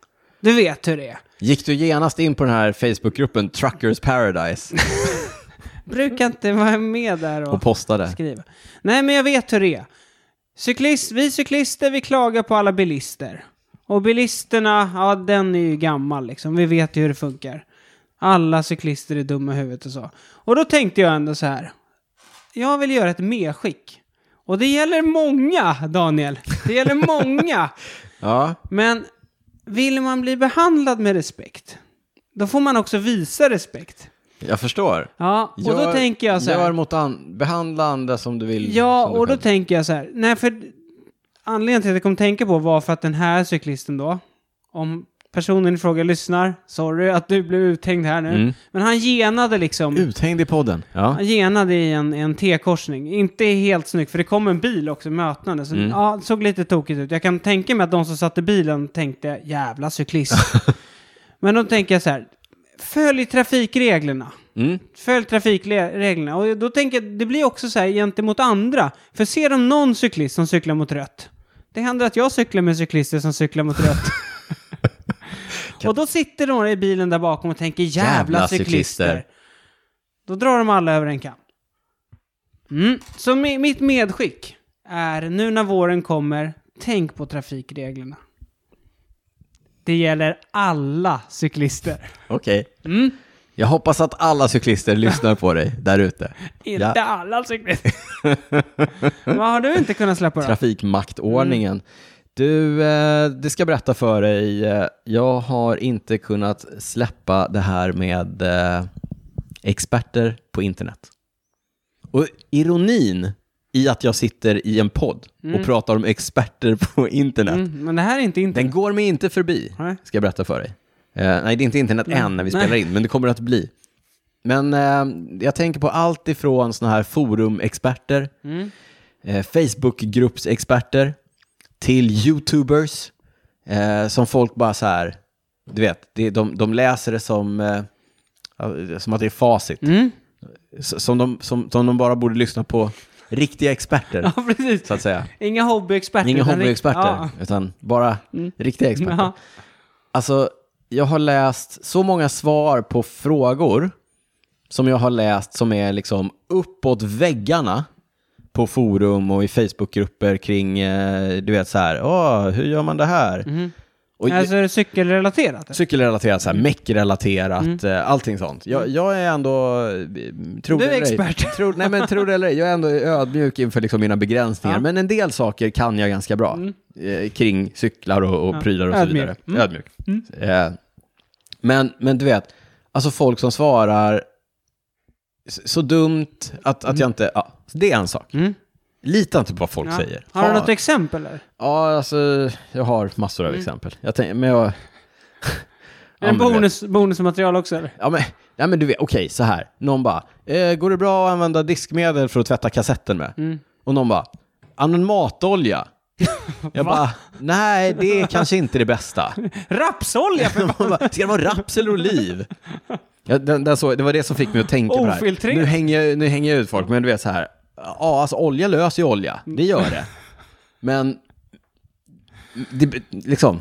Speaker 2: Du vet hur det är.
Speaker 1: Gick du genast in på den här Facebookgruppen Truckers Paradise
Speaker 2: Brukar inte vara med där och...
Speaker 1: och postade?
Speaker 2: skriva. Nej, men jag vet hur det är. Cyklist, vi cyklister, vi klagar på alla bilister. Och bilisterna, ja den är ju gammal liksom. Vi vet ju hur det funkar. Alla cyklister är dumma i huvudet och så. Och då tänkte jag ändå så här. Jag vill göra ett medskick. Och det gäller många, Daniel. Det gäller många.
Speaker 1: Ja.
Speaker 2: Men vill man bli behandlad med respekt, då får man också visa respekt.
Speaker 1: Jag förstår.
Speaker 2: Ja, och då
Speaker 1: Gör-
Speaker 2: tänker jag så här.
Speaker 1: Gör mot an- behandla andra som du vill.
Speaker 2: Ja,
Speaker 1: Mm, som du
Speaker 2: och då
Speaker 1: själv.
Speaker 2: tänker jag så här. Nej, för anledningen till att jag kom att tänka på var för att den här cyklisten då, om personen i fråga lyssnar, sorry att du blev uthängd här nu,
Speaker 1: Mm.
Speaker 2: men han genade liksom.
Speaker 1: Uthängd i podden. Ja.
Speaker 2: Han genade i en, en T-korsning. Inte helt snyggt, för det kom en bil också mötande. Så
Speaker 1: Mm.
Speaker 2: ja, det såg lite tokigt ut. Jag kan tänka mig att de som satt i bilen tänkte jävla cyklist. Men då tänker jag så här, följ trafikreglerna.
Speaker 1: Mm.
Speaker 2: Följ trafikreglerna. Och då tänker jag, det blir också så här gentemot andra. För ser de någon cyklist som cyklar mot rött, det händer att jag cyklar med cyklister som cyklar mot rött. och då sitter några i bilen där bakom och tänker jävla,
Speaker 1: Jävla
Speaker 2: cyklister.
Speaker 1: cyklister.
Speaker 2: Då drar de alla över en kam. Mm. Så mi- mitt medskick är nu när våren kommer, tänk på trafikreglerna. Det gäller alla cyklister.
Speaker 1: Okej.
Speaker 2: Mm.
Speaker 1: Jag hoppas att alla cyklister lyssnar på dig där ute.
Speaker 2: Inte
Speaker 1: Ja.
Speaker 2: alla cyklister. Vad har du inte kunnat släppa då?
Speaker 1: Trafikmaktordningen.
Speaker 2: Mm.
Speaker 1: Du, eh, det ska jag berätta för dig. Eh, Jag har inte kunnat släppa det här med eh, experter på internet. Och ironin i att jag sitter i en podd och pratar om experter på internet,
Speaker 2: Mm, men det här är inte
Speaker 1: den
Speaker 2: internet.
Speaker 1: går mig inte förbi,
Speaker 2: Nej.
Speaker 1: ska jag berätta för dig. Eh, nej, det är inte internet än när vi
Speaker 2: Nej.
Speaker 1: spelar in, men det kommer att bli. Men eh, jag tänker på allt ifrån sådana här forumexperter,
Speaker 2: Mm.
Speaker 1: eh, Facebookgruppsexperter till YouTubers eh, som folk bara så här, du vet, det, de, de läser det som, eh, ja, som att det är facit.
Speaker 2: Mm.
Speaker 1: S- Som, de, som, som de bara borde lyssna på riktiga experter,
Speaker 2: Ja, precis.
Speaker 1: så att säga.
Speaker 2: Inga hobbyexperter.
Speaker 1: Inga
Speaker 2: utan rikt-
Speaker 1: hobbyexperter,
Speaker 2: Ja. Mm.
Speaker 1: utan bara riktiga experter.
Speaker 2: Ja.
Speaker 1: Alltså, jag har läst så många svar på frågor som jag har läst som är liksom uppåt väggarna på forum och i Facebookgrupper kring, eh, du vet så här, Åh, hur gör man det här? Och
Speaker 2: Mm. Alltså är det cykelrelaterat?
Speaker 1: cykelrelaterat, så här,
Speaker 2: Mm.
Speaker 1: meckrelaterat, eh, allting sånt. Jag, jag är ändå, eh, tror
Speaker 2: Du är
Speaker 1: det eller ej-
Speaker 2: expert.
Speaker 1: Tror, nej men tror det eller ej, jag är ändå ödmjuk inför liksom mina begränsningar.
Speaker 2: Ja. Mm.
Speaker 1: Men en del saker kan jag ganska bra eh, kring cyklar och, och
Speaker 2: Ja.
Speaker 1: prylar och så
Speaker 2: Ödmjuk. Mm.
Speaker 1: vidare. Ödmjuk. Eh, men, men du vet, alltså folk som svarar s- så dumt att, att jag inte, ja, det är en sak.
Speaker 2: Mm.
Speaker 1: Lita inte på vad folk
Speaker 2: Ja.
Speaker 1: säger.
Speaker 2: Har du
Speaker 1: Ha-
Speaker 2: något Mm. exempel? Eller?
Speaker 1: Ja, alltså jag har massor av exempel. Jag tänker, men jag... Ja,
Speaker 2: en
Speaker 1: men du vet.
Speaker 2: bonus, bonusmaterial också? Eller?
Speaker 1: Ja men, ja, men du vet, okej så här. Någon bara, eh, går det bra att använda diskmedel för att tvätta kassetten med?
Speaker 2: Mm.
Speaker 1: Och någon bara, använd matolja. Jag bara, nej det är kanske inte det bästa.
Speaker 2: Rapsolja! För...
Speaker 1: Man bara, Ska det vara raps eller oliv? Ja, den, den så, det var det som fick mig att tänka på det här.
Speaker 2: Ofiltrerat.
Speaker 1: Nu hänger, jag- nu hänger jag ut folk, men du vet så här. Ja, alltså olja löser ju olja.
Speaker 2: Mm.
Speaker 1: Det gör det. Men, det, liksom.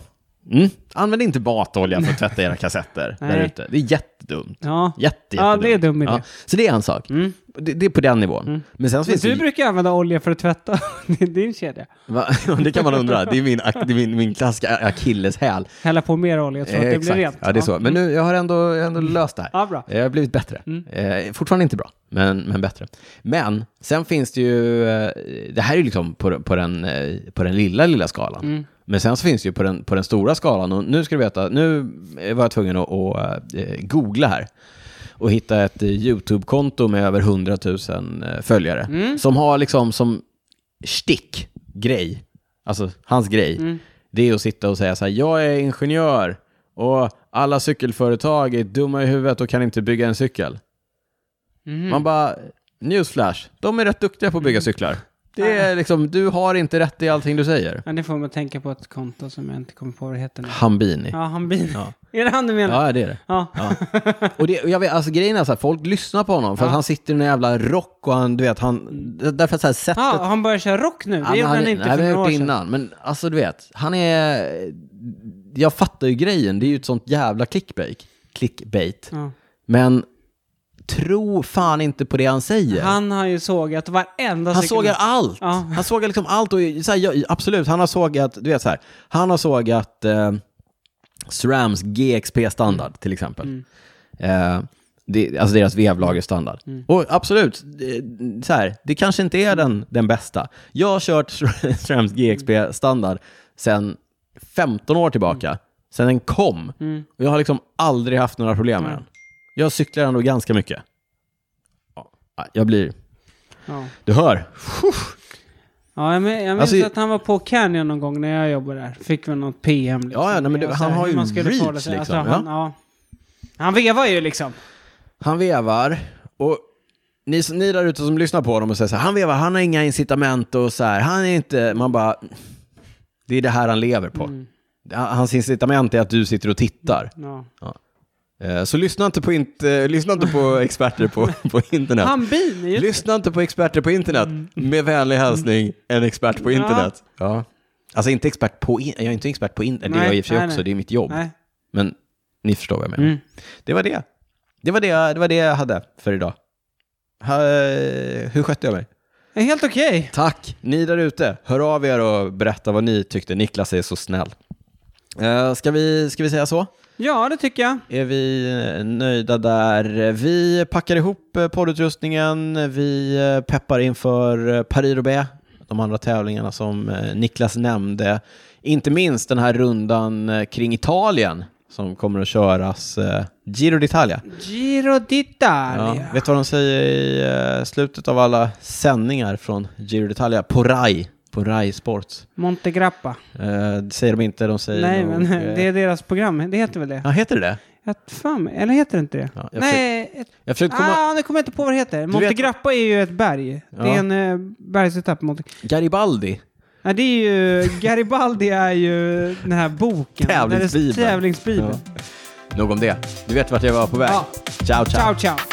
Speaker 1: Mm. Använd inte matolja för att tvätta era kassetter där
Speaker 2: Nej.
Speaker 1: ute. Det är jättedumt.
Speaker 2: Ja.
Speaker 1: Jätte,
Speaker 2: Ja, det är
Speaker 1: jättedumt.
Speaker 2: dum idé. Mm.
Speaker 1: Så det är en sak. Det, det är på den nivån. Men sen så
Speaker 2: Men
Speaker 1: finns
Speaker 2: du
Speaker 1: det...
Speaker 2: brukar använda olja för att tvätta din din kedja.
Speaker 1: Va? det kan man undra. Det är min, det är min, min klassiska akilleshäl.
Speaker 2: Hälla på mer olja så att
Speaker 1: Eh,
Speaker 2: det blir
Speaker 1: exakt.
Speaker 2: rent. Mm.
Speaker 1: Ja, det är så. Men nu, jag har ändå, jag har ändå löst det här.
Speaker 2: Ja, bra. Mm.
Speaker 1: Jag har blivit bättre. Eh, fortfarande inte bra, men, men bättre. Men sen finns det ju, eh, det här är ju liksom på, på, den, eh, på den lilla, lilla skalan.
Speaker 2: Mm.
Speaker 1: Men sen så finns det ju på den, på den stora skalan, och nu ska du veta, nu var jag tvungen att, att eh, googla här och hitta ett eh, YouTube-konto med över 100 000 eh, följare som har liksom som stick, grej, alltså hans grej, det är att sitta och säga så här, jag är ingenjör och alla cykelföretag är dumma i huvudet och kan inte bygga en cykel. Man bara, newsflash, de är rätt duktiga på att bygga cyklar. Det är liksom, du har inte rätt i allting du säger.
Speaker 2: Ja, det får man tänka på ett konto som jag inte kommer på vad det heter nu.
Speaker 1: Hambini.
Speaker 2: Ja, han blir... Är det han du menar?
Speaker 1: Ja, det är det.
Speaker 2: Ja.
Speaker 1: Och, det, och jag vet, alltså grejen är så här, folk lyssnar på honom för att han sitter i en jävla rock och han, du vet, han, därför att så här, sättet
Speaker 2: Ja, han börjar köra rock nu. Det gjorde han inte
Speaker 1: nej, vi
Speaker 2: för
Speaker 1: har
Speaker 2: några år
Speaker 1: gjort
Speaker 2: sedan.
Speaker 1: innan. Men alltså du vet, han är... Jag fattar ju grejen, det är ju ett sånt jävla clickbait. clickbait.
Speaker 2: Ja.
Speaker 1: Men tro fan inte på det han säger. Han,
Speaker 2: Han har ju sågat varenda cykel-
Speaker 1: sågar allt.
Speaker 2: Ja.
Speaker 1: Han sågar liksom allt. Och, så här, jag, absolut, han har sågat, du vet så här, han har sågat eh, SRAMs GXP-standard till exempel. Eh, det, alltså deras vevlagerstandard. Och absolut, det, så här, det kanske inte är den, den bästa. Jag har kört SRAMs GXP-standard sedan 15 år tillbaka, sedan den kom. Och jag har liksom aldrig haft några problem med den. Jag cyklar ändå ganska mycket. Ja, jag blir...
Speaker 2: Ja.
Speaker 1: Du hör.
Speaker 2: Ja, jag men- jag minns
Speaker 1: Alltså,
Speaker 2: att han var på Canyon någon gång när jag jobbade där. Fick väl något PM liksom.
Speaker 1: Ja, ja, nej, men det-
Speaker 2: Och så
Speaker 1: han
Speaker 2: här,
Speaker 1: har
Speaker 2: hur
Speaker 1: ju
Speaker 2: man skulle
Speaker 1: reach,
Speaker 2: förhålla sig. Alltså,
Speaker 1: liksom,
Speaker 2: han, ja. han vevar ju liksom.
Speaker 1: Han vevar och ni, ni där ute som lyssnar på honom och säger så här, han vevar, han har inga incitament och så här, han är inte, man bara, det är det här han lever på.
Speaker 2: Mm.
Speaker 1: Han- Hans incitament är att du sitter och tittar.
Speaker 2: Ja.
Speaker 1: Eh, Så lyssna inte på, int, eh, lyssna inte på experter på, på internet.
Speaker 2: Han bin är ju... Mm.
Speaker 1: Lyssna inte på experter på internet. Med vänlig hälsning, en expert på
Speaker 2: Ja.
Speaker 1: internet. Ja. Alltså inte expert på, in- jag är inte expert på internet, det är
Speaker 2: Nej,
Speaker 1: jag i och för sig
Speaker 2: nej,
Speaker 1: också,
Speaker 2: nej.
Speaker 1: det är mitt jobb.
Speaker 2: Nej.
Speaker 1: Men ni förstår vad jag menar.
Speaker 2: Mm.
Speaker 1: Det var det. Det var det, jag- det var det jag hade för idag. Ha, eh, hur skötte jag mig?
Speaker 2: Det är Helt okej.
Speaker 1: Tack! Ni där ute, hör av er och berätta vad ni tyckte. Niklas är så snäll. Eh, ska, vi, ska vi säga så?
Speaker 2: Ja, det tycker jag.
Speaker 1: Är vi eh, nöjda där? Vi packar ihop eh, poddutrustningen, vi eh, peppar inför eh, Paris-Roubaix, de andra tävlingarna som eh, Niklas nämnde. Inte minst den här rundan eh, kring Italien som kommer att köras, eh, Giro d'Italia.
Speaker 2: Giro
Speaker 1: Ja,
Speaker 2: d'Italia.
Speaker 1: vet du vad de säger i eh, slutet av alla sändningar från Giro d'Italia? På RAI, på RAI Sports.
Speaker 2: Montegrappa.
Speaker 1: Eh, det säger de inte, de säger
Speaker 2: Nej,
Speaker 1: nog,
Speaker 2: men
Speaker 1: eh,
Speaker 2: det är deras program. Det heter väl det?
Speaker 1: Ja, heter det det?
Speaker 2: Jag fan, eller heter det inte det?
Speaker 1: Ja, jag
Speaker 2: Nej, ett-
Speaker 1: Jag försökte komma...
Speaker 2: ah, nu kommer jag inte på vad det heter. Montegrappa är ju ett berg. Det
Speaker 1: Ja.
Speaker 2: är en eh, bergsetapp. Monte...
Speaker 1: Garibaldi.
Speaker 2: Nej, det är ju... Garibaldi är ju den här boken.
Speaker 1: Tävlingsbibeln.
Speaker 2: Där det- Tävlingsbibeln.
Speaker 1: Nog om det. Du vet vart jag var på väg.
Speaker 2: Ja.
Speaker 1: Ciao, ciao.
Speaker 2: Ciao, ciao.